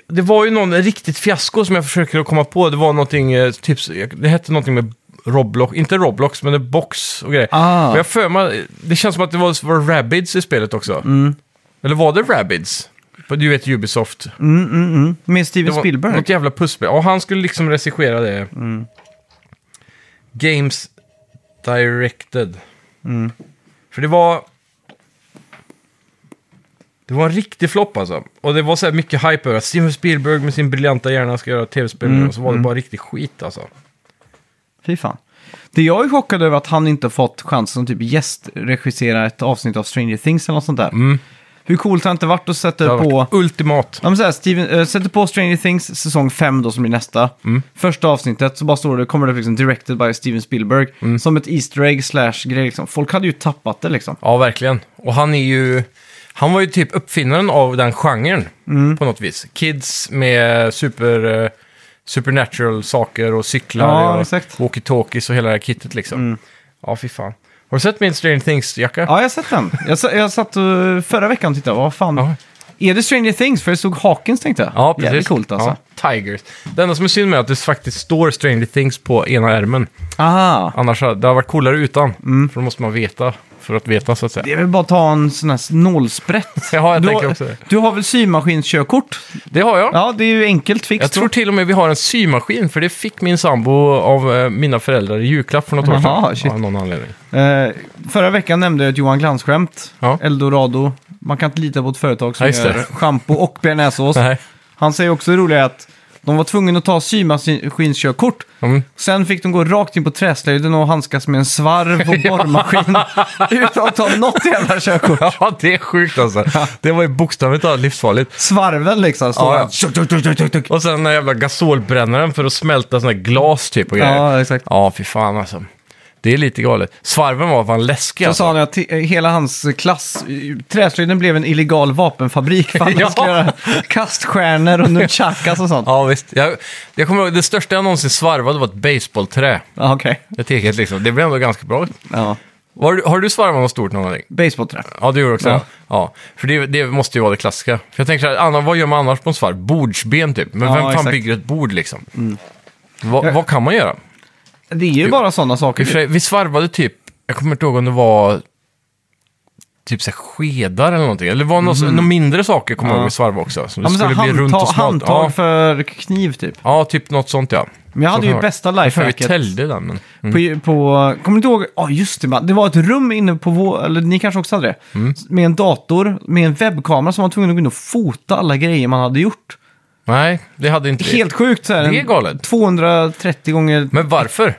det var ju någon riktigt fiasko som jag försöker att komma på. Det var någonting, eh, typ, det hette någonting med Roblox, inte Roblox, men det Box och grejer.
Ah.
Men jag för mig, det känns som att det var, var Rabbids i spelet också. Eller var det Rabbids? Du vet Ubisoft.
Mm, mm, mm. Med Steven
Det var
Spielberg. Mm.
Något jävla pusspel. Och han skulle liksom regissera det. Games Directed.
Mm.
För det var... Det var en riktig flopp alltså. Och det var så här mycket hype över att Steven Spielberg med sin briljanta hjärna ska göra tv-spel.
Mm.
Och så var det bara riktig skit alltså.
Fy fan. Det jag är chockad över att han inte fått chansen att typ gästregissera ett avsnitt av Stranger Things eller något sånt där. Hur coolt har det inte varit att
Mm. Det
sätta
har
på...
varit ultimat.
Ja, men så här, Steven, eh, sätter på Stranger Things säsong 5 då som blir nästa.
Mm.
Första avsnittet så bara står det, kommer det liksom directed by Steven Spielberg.
Mm.
Som ett Easter egg slash grej liksom. Folk hade ju tappat det liksom.
Ja, verkligen. Och han är ju... Han var ju typ uppfinnaren av den genren
Mm.
på något vis. Kids med super, eh, supernatural saker och cyklar
Ja,
och
exakt. Mm.
walkie-talkies och hela det här kittet liksom. Ja, fy fan. Har du sett min Stranger Things-jacka?
Ja, jag har sett den. Jag, sa- jag satt eh, förra veckan och tittade, vad fan.
Ja.
Är det Stranger Things? För det stod Hawkins tänkte jag.
Ja, precis.
Jävligt coolt alltså.
Ja, Tigers. Det enda som är synd med är att det faktiskt står Stranger Things på ena ärmen.
Aha.
Annars hade det varit coolare utan.
Mm.
För då måste man veta för att veta så att säga.
Det är väl bara att ta en sån här nålsprätt.
(laughs) Ja, jag
du,
tänker
har,
också det.
du har väl symaskinskörkort?
Det har jag.
Ja, det är ju enkelt fix.
Jag tror till och med vi har en symaskin, för det fick min sambo av eh, mina föräldrar i julklapp för något år
Jaha,
sedan.
shit.
Av någon anledning.
Eh, förra veckan nämnde jag ett Johan Glans-skämt.
Ja.
Eldorado. Man kan inte lita på ett företag som
Ja, just det.
gör schampo och bearnaisesås.
Nej.
Han säger också det roliga är att de var tvungna att ta symaskinskörkort.
Mm.
Sen fick de gå rakt in på träslöjden och handskas med en svarv
(laughs)
och borrmaskin (laughs) utan att ta något jävla körkort.
(laughs) Ja, det är sjukt alltså. Det var ju bokstavligt talat livsfarligt.
Svarven liksom. Står
Ja, ja.
där. Tjuk, tjuk, tjuk, tjuk, tjuk, tjuk.
Och sen den där jävla gasolbrännaren för att smälta sådana här glas typ och grejer.
Ja, exakt.
Ja, fy fan alltså. Det är lite galet. Svarven var fan läskig
Så sa
alltså.
han att eh, hela hans klass, eh, träslöjden blev en illegal vapenfabrik för han
(laughs) Ja.
skulle göra kaststjärnor och nunchakas och sånt.
Ja, visst. Jag, jag kommer ihåg, det största jag någonsin svarvade var ett baseballträ.
Ja, okej.
Ett eget liksom. Det blev ändå ganska bra.
Ja.
Har du, har du svarvat något stort någon gång?
Baseballträ.
Ja, det gjorde jag också. Ja.
Ja.
För det, det måste ju vara det klassiska. För jag tänker så här, Anna, vad gör man annars på en svarv? Bordsben typ. Men
Ja,
vem fan
exakt. Mm.
bygger ett bord liksom? Va,
Jag-
Vad kan man göra?
Det är ju bara sådana
I
saker.
och för sig, Vi svarvade typ, jag kommer inte ihåg om det var typ så här skedar eller någonting. Eller var något, några mindre saker kommer jag ihåg vi svarvade också. Som
Mm. Ja, men så
skulle
här
bli runt och
handtag,
smalt.
handtag
Ja,
för kniv typ.
ja, typ något sånt ja.
Men jag hade
Så
ju
kan det
bästa
vara. Jag tror
lifehacket.
Vi täljde den. Men...
På, på, kommer du inte ihåg? Ja, just det. man. Det var ett rum inne på vår, eller ni kanske också hade det.
Mm.
Med en dator, med en webbkamera som var tvungen att gå in och fota alla grejer man hade gjort.
Nej, det hade inte vi.
Helt sjukt. Så här,
Det är
en
galet.
230 gånger...
Men varför?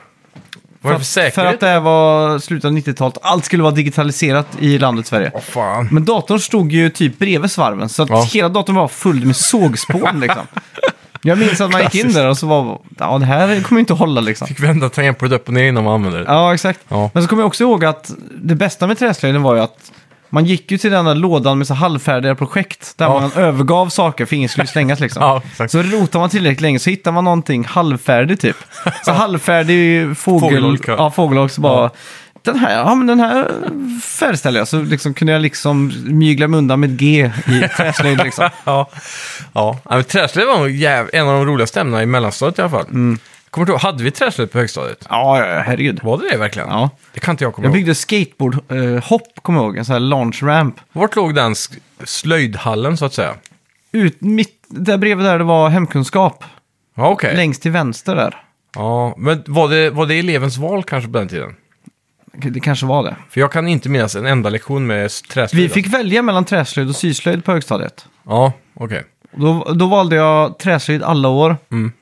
Var
För, att-
det för
för att
säkerhet?
det här var slutet av 90-talet. Allt skulle vara digitaliserat i landet Sverige.
Åh, fan.
Men datorn stod ju typ bredvid svarven, så att
Ja.
hela datorn var full med sågspån
(laughs)
liksom. Jag minns att man gick in
Klassiskt.
där och så var ja det här kommer ju inte hålla liksom.
Fick vända tangentbordet upp och ner innan man använde det.
Ja, exakt.
Ja.
Men så kommer jag också ihåg att det bästa med träslöjden var ju att man gick ju till den där lådan med så halvfärdiga projekt där
Ja.
man övergav saker för inget skulle slängas liksom.
(laughs) Ja, exakt.
så rotar man tillräckligt länge så hittar man någonting halvfärdig typ.
(laughs)
Så halvfärdig fågel...
Fågelholk, ja.
ja, fågelholk så bara... Den här, ja men den här färdigställer jag. Så liksom kunde jag liksom mygla mig undan med ett G
(laughs)
i träslöjd liksom.
Ja, ja. ja men träslöjd var nog jäv... en av de roligaste ämnena i mellanstadiet i alla fall.
Mm.
Kommer du ihåg, hade vi träslöjd på högstadiet?
Ja, ja, ja, herregud.
Var det det verkligen?
Ja.
Det kan inte jag komma
Jag
ihåg.
byggde skateboardhopp, kommer jag ihåg. En sån här launch ramp.
Vart låg den sk- slöjdhallen så att säga?
Ut, mitt, där bredvid där det var hemkunskap.
Ja, okej.
Längst till vänster där.
Ja, men var det, var det elevens val kanske på den tiden?
Det kanske var det.
För jag kan inte minnas en enda lektion med s- träslöjd.
Vi fick välja mellan träslöjd och syslöjd på högstadiet.
Ja, okej.
Och Då, då valde jag träslöjd alla år.
Mm.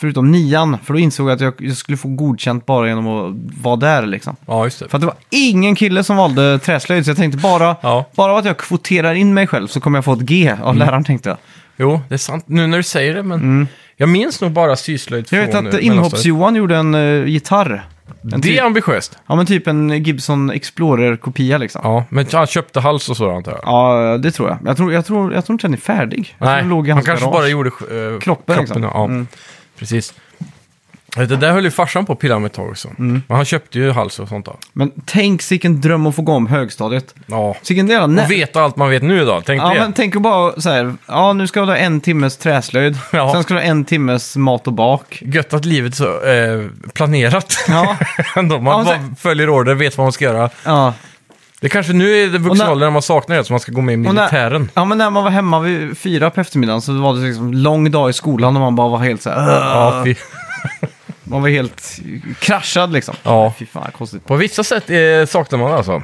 Förutom nian, för då insåg jag att jag, jag skulle få godkänt bara genom att vara där liksom.
Ja, just det.
För att det var ingen kille som valde träslöjd, så jag tänkte bara,
Ja. Mm.
bara av att jag kvoterar in mig själv så kommer jag få ett G av läraren tänkte jag.
Jo, det är sant. Nu när du säger det, men jag minns nog bara syslöjd
Mm. Jag vet
från,
att
eh, mellanstadiet.
inhopps-Johan gjorde en eh, gitarr. En
Det
typ,
är ambitiöst.
ja men typ en Gibson Explorer-kopia liksom.
Ja, men han köpte hals och så antar jag.
Ja, det tror jag. Jag tror, jag tror, jag tror inte den är färdig. Jag tror
Nej,
den låg i
han
hans
kanske
garage.
bara gjorde eh,
Kroppen, liksom.
ja. Precis. Det där höll ju farsan på att pilla med ett tag också.
Mm.
Men han köpte ju hals och sånt då.
Men tänk sicken dröm att få gå om högstadiet.
Ja.
Sicken jävla nä-
Och veta allt man vet nu idag, tänk
Ja,
det.
men tänk att bara så här, ja nu ska du ha en timmes träslöjd,
Ja.
sen ska du ha en timmes mat och bak.
Gött att livet är så eh, planerat.
Ja.
(laughs) Ändå,
Ja,
man
men
bara
sen-
följer order, vet vad man ska göra.
Ja.
Det kanske nu är det
Och
vuxen
när-
ålder när man saknar det, så man ska gå med i
Och när-
militären.
Ja, men när man var hemma vid fyra på eftermiddagen så var det liksom lång dag i skolan och man bara var helt så här, "Ugh."
Ja, fy.
man var helt kraschad liksom.
Ja.
Fy fan, konstigt.
På vissa sätt eh, saknar man det alltså.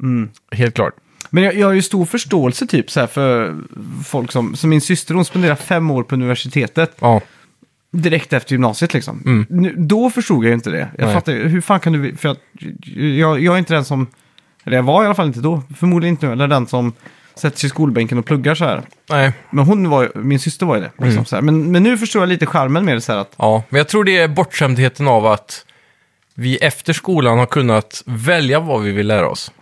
Mm.
Helt klart.
Men jag, jag har ju stor förståelse typ så här för folk som, som min syster hon spenderade fem år på universitetet.
Ja.
direkt efter gymnasiet liksom. Nu, då förstod jag ju inte det. Jag
Nej.
fattar ju, hur fan kan du, för att, jag, jag är inte den som, eller jag var i alla fall inte då, förmodligen inte nu, eller den som sätter sig i skolbänken och pluggar så här.
Nej,
Men hon var ju, min syster var ju det. Liksom, så här. Men, men nu förstår jag lite charmen med det så här att,
Ja, men jag tror det är bortskämdheten av att vi efter skolan har kunnat välja vad vi vill lära oss.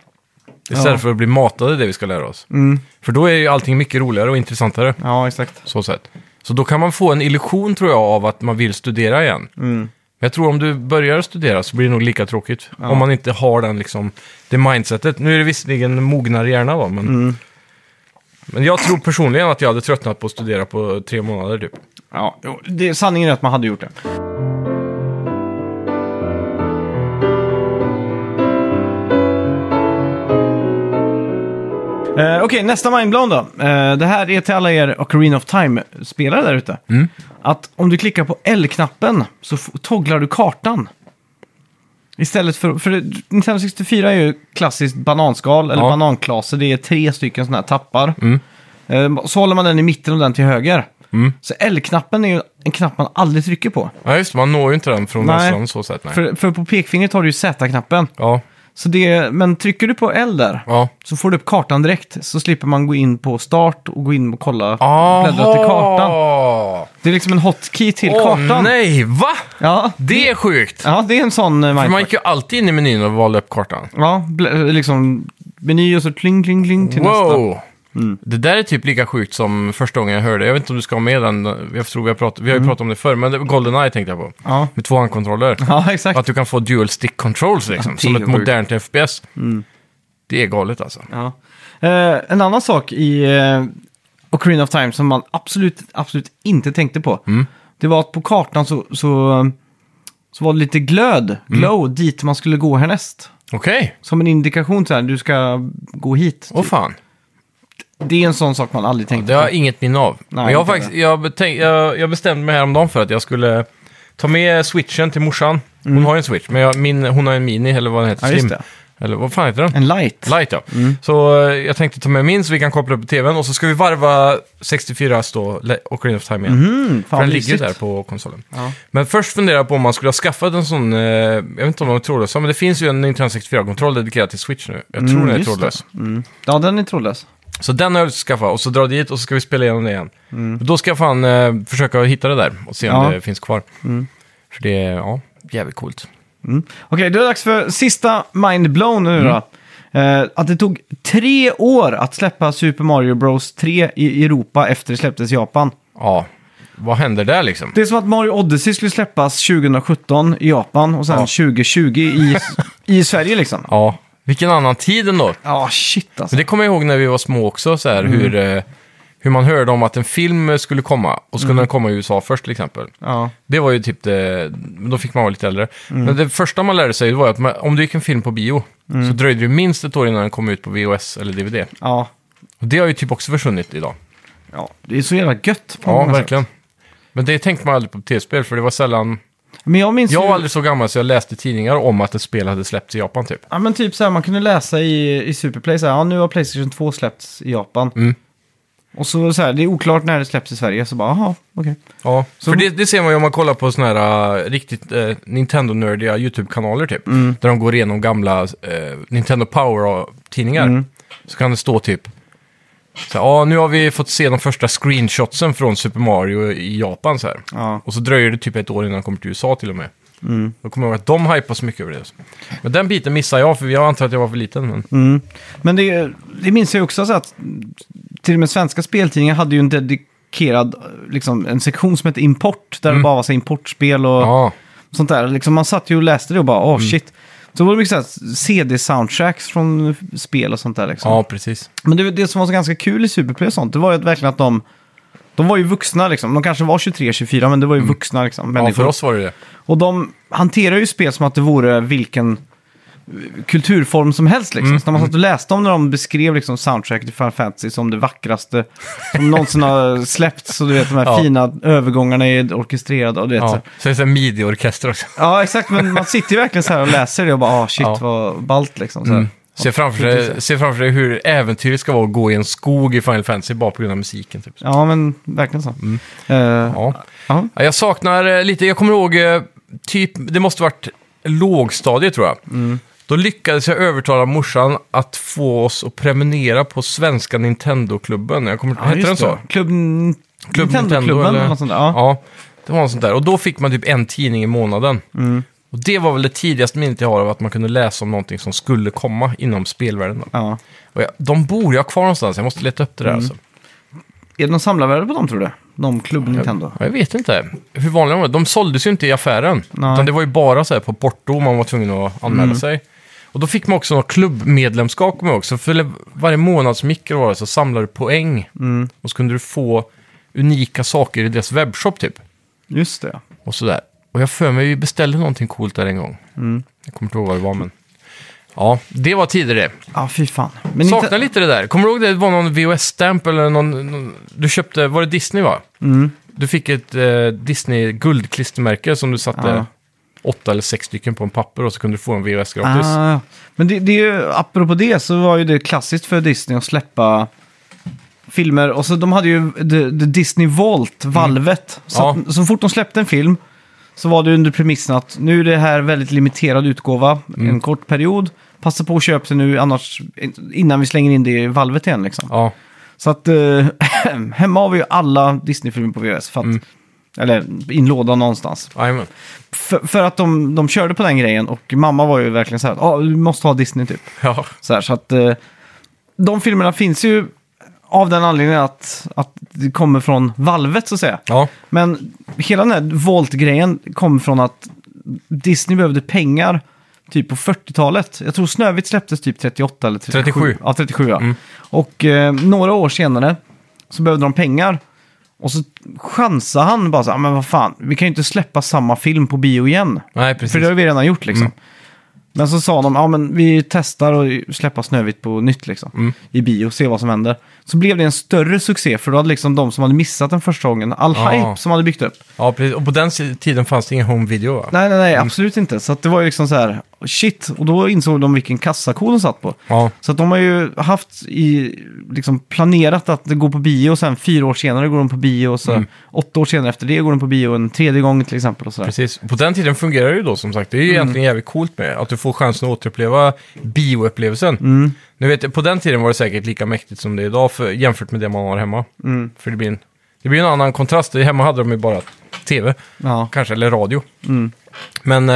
Istället
Ja.
för att bli matade det vi ska lära oss. För då är ju allting mycket roligare och intressantare.
ja exakt.
Så, sätt. så då kan man få en illusion tror jag av att man vill studera igen. Men jag tror om du börjar studera så blir det nog lika tråkigt. Om man inte har den liksom, det mindsetet. Nu är det visserligen mognare hjärna va, men Men jag tror personligen att jag hade tröttnat på att studera på tre månader typ.
Ja, jo, det, sanningen är att man hade gjort det. Eh, Okej, nästa mindblown då. Eh, det här är till alla er Ocarina of Time-spelare där ute. Att om du klickar på L-knappen så f- togglar du kartan. Istället för... För Nintendo 64 är ju klassiskt bananskal, eller
Ja.
bananklaser. Det är tre stycken sådana här tappar. Eh, Så håller man den i mitten och den till höger.
Mm.
Så L-knappen är ju en knapp man aldrig trycker på.
Ja just det, man når ju inte den från
Nej.
vänster så sätt. Nej.
För, för på pekfingret har du ju Z-knappen.
Ja,
Så det, men trycker du på L där
ja.
så får du upp kartan direkt. Så slipper man gå in på start och gå in och kolla.
Aha!
Bläddra till kartan. Det är liksom en hotkey till
Åh
kartan.
nej, va?
Ja,
Det är sjukt!
ja, det är en sån eh,
För man
mindfuck.
gick ju alltid in i menyn och valde upp kartan.
Ja, blä- liksom meny och så kling, kling, kling till nästa.
Wow! Det där är typ lika sjukt som första gången jag hörde. Jag vet inte om du ska ha med den. Jag tror vi har pratat, vi har ju pratat om det förr, men det- Goldeneye tänkte jag på.
Mm. Ja.
Med två handkontroller.
Ja, exakt.
Att du kan få dual stick controls liksom,
det
som
är
ett
sjukt.
modernt FPS. Det är galet alltså.
Ja. Eh, en annan sak i eh, Ocarina of Time som man absolut, absolut inte tänkte på.
Mm.
Det var att på kartan så, så, så var det lite glöd,
Mm.
glow, dit man skulle gå härnäst.
Okej,
Som en indikation så här, du ska gå hit.
åh fan.
Det är en sån sak man aldrig
Det
tänkte
har
på.
jag inget minne av. Men jag, har
inte
faktiskt, jag, betänk, jag, jag bestämde mig häromdagen för att jag skulle ta med switchen till morsan. Hon har ju en switch, men jag, min, hon har en mini eller vad den heter,
Mm. Ja, just
slim. Eller vad fan heter den?
En Mm. light.
Light ja. Så eh, jag tänkte ta med min så vi kan koppla upp på tvn och så ska vi varva 64 då, Le- Ocarina of Time igen.
Mm,
För
fan,
den ligger ju
mysigt.
där på konsolen.
Ja.
Men först funderar jag på om man skulle ha skaffat en sån, eh, jag vet inte om de är trådlösa, men det finns ju en Nintendo 64-kontroll dedikerad till Switch nu. Jag tror
Mm,
den är
just
trådlös.
det. Mm. Ja, den är trådlös.
Så den har jag skaffat och så drar jag dit och så ska vi spela igenom det igen. Då ska jag fan eh, försöka hitta det där och se om
Ja.
det finns kvar. För det är, ja, jävligt coolt.
Okej, då är det dags för sista mindblown nu då.
Mm.
Eh, att det tog tre år att släppa Super Mario Bros 3 i Europa efter det släpptes i Japan.
Ja, vad händer där liksom?
Det är som att Mario Odyssey skulle släppas 2017 i Japan och sen
Ja.
2020 i, i Sverige liksom.
Ja, vilken annan tid ändå.
Ja, shit alltså.
Men det kommer jag ihåg när vi var små också, så här, hur, eh, hur man hörde om att en film skulle komma. Och skulle den komma i USA först till exempel.
Ja.
Det var ju typ det, men då fick man vara lite äldre. Men det första man lärde sig det var ju att man, om du gick en film på bio så dröjde det ju minst ett år innan den kom ut på VHS eller DVD.
Ja.
Och det har ju typ också försvunnit idag.
ja, det är så jävla gött. på
Ja,
många sätt.
verkligen. Men det tänkte man aldrig på tv-spel, för det var sällan...
Men jag minns
Jag
ju...
var aldrig så gammal så jag läste tidningar om att ett spel hade släppts i Japan typ.
Ja, men typ så här, man kunde läsa i, i Superplay så här, ja, nu har Playstation 2 släppts i Japan.
Mm.
Och så så här, det är oklart när det släpps i Sverige, så bara, jaha, okej.
Ja,
Så-
för det, det ser man ju om man kollar på såna här eh, riktigt eh, Nintendo-nördiga YouTube-kanaler typ.
Mm.
Där de går igenom gamla eh, Nintendo Power-tidningar.
Mm.
Så kan det stå typ, så här, ja nu har vi fått se de första screenshotsen från Super Mario i Japan så här.
Ja. Mm.
Och så dröjer det typ ett år innan de kommer till USA till och med. Då kommer jag ihåg att de hypas mycket över det. Men den biten missar jag, för jag antar att jag var för liten. Men...
Mm. Men det, det minns jag också så att till och med svenska speltidningar hade ju en dedikerad liksom, en sektion som hette import, där det bara var så här importspel och
Mm. Ja.
sånt där. Liksom, man satt ju och läste det och bara, åh
Mm.
shit. Så var det mycket så här CD-soundtracks från spel och sånt där. Liksom.
ja, precis.
Men det, det som var så ganska kul i Superplay och sånt, det var ju att verkligen att de, de var ju vuxna liksom. De kanske var 23-24, men det var ju vuxna liksom,
Mm. Ja,
människor.
för oss var det det.
Och de hanterar ju spel som att det vore vilken eh, kulturform som helst. Liksom.
Mm.
Så när man satt och läste om när de beskrev liksom, soundtracket till Final Fantasy som det vackraste som någonsin har släppts. Så du vet, de här
Ja.
fina övergångarna är orkestrerade. Och du vet, så.
Ja.
här.
Så det är en midi-orkester också.
ja, exakt. Men man sitter ju verkligen så här och läser det och bara, ah, shit
Ja. Mm.
vad ballt liksom. Så här.
Se framför,
precis.
dig, se framför dig hur äventyret ska vara att gå i en skog i Final Fantasy bara på grund av musiken. Typ.
Ja, men verkligen så.
Mm.
Eh, ja.
Ja. Ja, jag saknar eh, lite, jag kommer ihåg, eh, typ, det måste varit lågstadiet tror jag. Då lyckades jag övertala morsan att få oss att prenumerera på svenska Nintendo-klubben. Jag kommer, hette
just
den
det.
så?
Klubb,
Klubb Nintendo,
Nintendo-klubben
eller?
eller något sånt där. Ja.
Ja, det var något sånt där. Och då fick man typ en tidning i månaden. Och det var väl det tidigaste minnet jag har av att man kunde läsa om någonting som skulle komma inom spelvärlden. Då.
Ja.
Och jag, de bor jag kvar någonstans, jag måste leta upp det där alltså.
Är det någon samlarvärde på dem tror du? De Klubb Nintendo?
Ja, Jag vet inte hur vanliga de var. De såldes ju inte i affären.
Nej.
Utan det var ju bara så här på porto man var tvungen att anmäla sig. Och då fick man också något klubbmedlemskap kommer jag också. För varje månad som gick eller vad det var så samlade du poäng. Och så kunde du få unika saker i deras webbshop typ.
Just det.
Och sådär. Och jag för mig vi beställde någonting coolt där en gång. Jag kommer inte ihåg vad det var men. Ja, det var tider det.
Ja, fy fan. Men
Saknar
inte...
lite det där. Kommer du ihåg det? Det var någon VHS-stamp eller någon, någon... Du köpte, var det Disney va?
Mm.
Du fick ett eh, Disney-guldklistermärke som du satte
Ja.
åtta eller sex stycken på en papper och så kunde du få en VHS gratis.
Ah, men det, det är ju, apropå det så var ju det klassiskt för Disney att släppa filmer. Och så de hade ju The, the Disney Vault, valvet. Så, att- så fort de släppte en film så var det under premissen att nu är det här väldigt limiterad utgåva, en kort period. Passa på att köpa det nu annars, innan vi slänger in det i valvet igen liksom.
Ja.
Så att eh, (clears throat) hemma har vi ju alla Disney-filmer på VHS. För att, Eller i en låda någonstans.
Jajamän.
För, för att de, de körde på den grejen och mamma var ju verkligen så här, ja du måste ha Disney typ.
Ja.
Så, här, så att eh, de filmerna finns ju av den anledningen att, att det kommer från valvet så att säga.
Ja.
Men hela den här Volt-grejen kom från att Disney behövde pengar typ på 40-talet. Jag tror Snövit släpptes typ 38 eller 37.
37.
Ja, 37 ja. Och eh, några år senare så behövde de pengar. Och så chansade han bara så här, "Ah, men vad fan, vi kan ju inte släppa samma film på bio igen.
Nej, precis. Mm.
För det har vi redan gjort liksom. Men så sa de, ja men vi testar och släppa Snövit på nytt liksom.
Mm.
I bio, se vad som händer. Så blev det en större succé, för då hade liksom de som hade missat den första gången, all
Ah.
hype som hade byggt upp.
ja, precis. Och på den si- tiden fanns det ingen home video va?
Nej, nej, nej, absolut inte. Så att det var ju liksom så här, shit. Och då insåg de vilken kassako de satt på.
Ja.
Så att de har ju haft i, liksom planerat att det går på bio och sen fyra år senare går de på bio och
Mm.
så åtta år senare efter det går de på bio en tredje gång till exempel och så där.
Precis. På den tiden fungerar det ju då som sagt. Det är ju egentligen jävligt coolt med att du får chansen att återuppleva bioupplevelsen. Nu vet jag, på den tiden var det säkert lika mäktigt som det är idag för, jämfört med det man har hemma. För det blir, en, det blir en annan kontrast. Hemma hade de ju bara tv,
Ja.
kanske, eller radio.
Mm.
Men eh,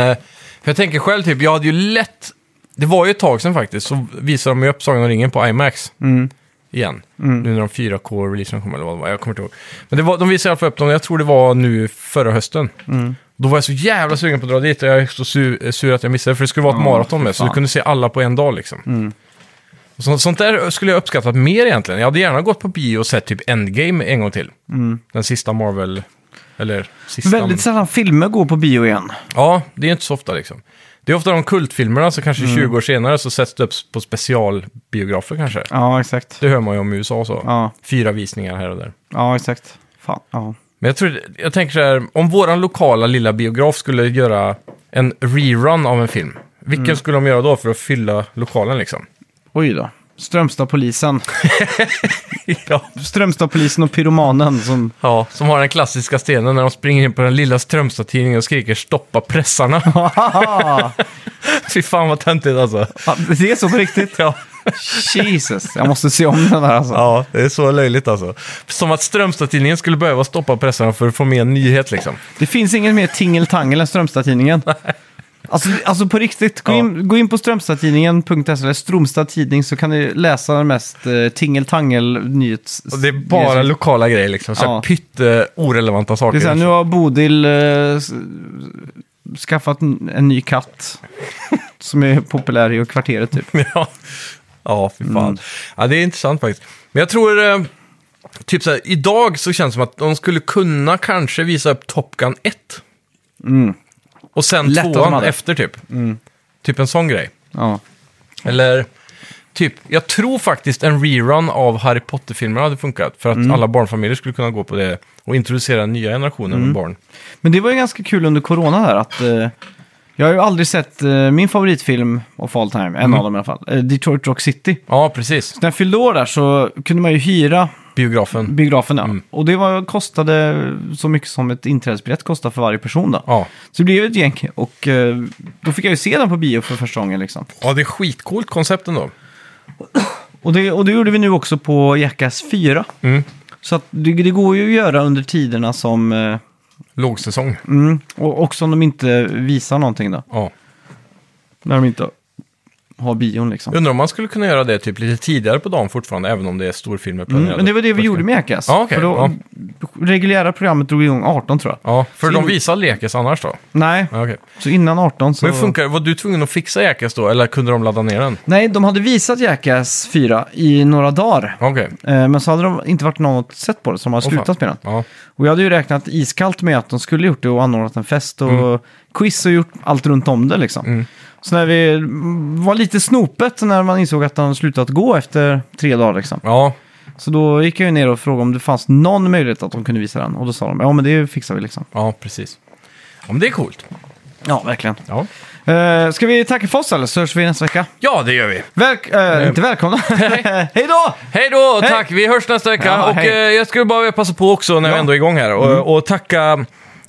för jag tänker själv, typ, jag hade ju lätt... Det var ju ett tag sedan faktiskt, så visade de ju upp Sagan om ringen på IMAX.
Mm.
Igen. Nu när de 4K-releasen kom, eller vad det var, jag kommer inte ihåg. Men det var, de visade i alla fall upp dem, jag tror det var nu förra hösten.
Mm.
Då var jag så jävla sugen på att dra dit och jag är så sur, sur att jag missade, för det skulle vara ett maraton med, så
fan. Mm.
du kunde se alla på en dag liksom. Och Så, sånt där skulle jag uppskattat mer egentligen. Jag hade gärna gått på bio och sett typ Endgame en gång till. Den sista Marvel, eller sista...
Mm. Väldigt sällan filmer går på bio igen.
Ja, det är inte så ofta liksom. Det är ofta de kultfilmerna, så kanske 20 år senare så sätts det upp på specialbiografer kanske.
Ja, exakt.
Det hör man ju om i USA så.
Ja,
Fyra visningar här och där.
ja exakt. Fan, ja.
Men jag, tror, jag tänker så här, om våran lokala lilla biograf skulle göra en rerun av en film, vilken skulle de göra då för att fylla lokalen liksom?
Oj då. Strömstadpolisen.
ja.
Strömstadpolisen och pyromanen som...
ja, som har den klassiska stenen när de springer in på den lilla Strömstad-tidningen och skriker “stoppa pressarna”. (laughs)
Ah,
Fy fan vad töntigt alltså.
det är så på riktigt.
Ja.
Jesus, jag måste se om den här alltså.
Ja, det är så löjligt alltså. Som att Strömstad-tidningen skulle behöva stoppa pressarna för att få med en nyhet liksom.
Det finns inget mer tingeltangel än Strömstad-tidningen. Alltså, alltså på riktigt, gå
Ja.
in, gå in på strömstadtidningen.se eller Stromstad tidning så kan ni läsa den mest eh, tingeltangel nyhets...
Och det är bara lokala grejer liksom, så
Ja.
ja. pytte orelevanta
Det
saker. liksom.
är så här, nu har Bodil eh, s- skaffat en, en ny (laughs) katt som är populär i kvarteret typ.
(laughs) ja. ja, fy fan.
Mm.
Ja, det är intressant faktiskt. Men jag tror, eh, typ så här, idag så känns det som att de skulle kunna kanske visa upp Top Gun 1. Och sen
Mm. Lätt att de
tvåan
hade. Mm.
efter typ. Typ en sån grej.
Ja.
Eller typ, jag tror faktiskt en rerun av Harry Potter-filmerna hade funkat. För
Mm.
att alla barnfamiljer skulle kunna gå på det och introducera nya generationer
Mm.
med barn.
Men det var ju ganska kul under corona där att eh, jag har ju aldrig sett eh, min favoritfilm of all time, en av dem i alla fall, eh, Detroit Rock City.
Ja, precis.
När jag fyllde år där så kunde man ju hyra
Biografen.
biografen. Ja. Och det var, kostade så mycket som ett inträdesbiljett kostar för varje person. Då.
Ja.
Så det blev ju ett gäng och eh, då fick jag ju se den på bio för första gången. Liksom.
ja, det är skitcoolt koncept ändå.
Och, det, och det gjorde vi nu också på Jackass 4.
Mm.
Så att det, det går ju att göra under tiderna som... Eh,
Lågsäsong.
mm, och också om de inte visar någonting då.
Ja.
När de inte ha bion liksom.
Undrar om man skulle kunna göra det typ lite tidigare på dagen fortfarande, även om det är storfilmer planerade.
Mm, men det var det vi gjorde med Jackass.
Ja, okej,
för då,
ja.
Reguljära programmet drog igång 18 tror jag.
Ja, för
Så
de
in-
visar Lekes annars då?
Nej,
Ja, okej.
så innan 18 så...
Men funkar, var du tvungen att fixa Jackass då, eller kunde de ladda ner den?
Nej, de hade visat Jackass 4 i några dagar.
Okej.
Eh, Men så hade de inte varit något sett på det, så de hade
Åh,
slutat
fan.
spela.
Ja.
Och jag hade ju räknat iskallt med att de skulle gjort det och anordnat en fest och
Mm.
quiz och gjort allt runt om det liksom. Så när vi mm, var lite snopet när man insåg att de slutat gå efter tre dagar liksom.
ja,
Så då gick jag ju ner och frågade om det fanns någon möjlighet att de kunde visa den. Och då sa de, ja men det fixar vi liksom.
ja, precis. Ja, men det är coolt.
Ja, verkligen.
Ja,
Eh, ska vi tacka för oss eller så hörs vi nästa vecka?
ja det gör vi.
Välk- eh, inte välkomna. (laughs) Hej då!
Hej då,
Hej.
tack! Vi hörs nästa vecka.
Ja,
och
hej.
eh, jag skulle bara vilja passa på också när vi
Ja. Mm.
ändå är igång här och, och tacka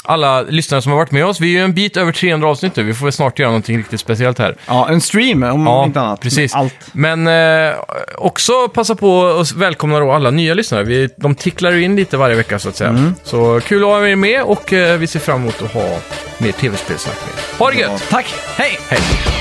alla lyssnare som har varit med oss. Vi är ju en bit över 300 avsnitt nu. Vi får väl snart göra någonting riktigt speciellt här.
Ja, en stream om Mm, inte annat.
precis.
Allt.
Men eh, också passa på och välkomna då alla nya lyssnare. Vi, de ticklar ju in lite varje vecka så att säga.
Mm.
Så kul att ha er med och eh, vi ser fram emot att ha mer tv-spelsnack med er. Ha det gött!
Tack, hej!
Hej!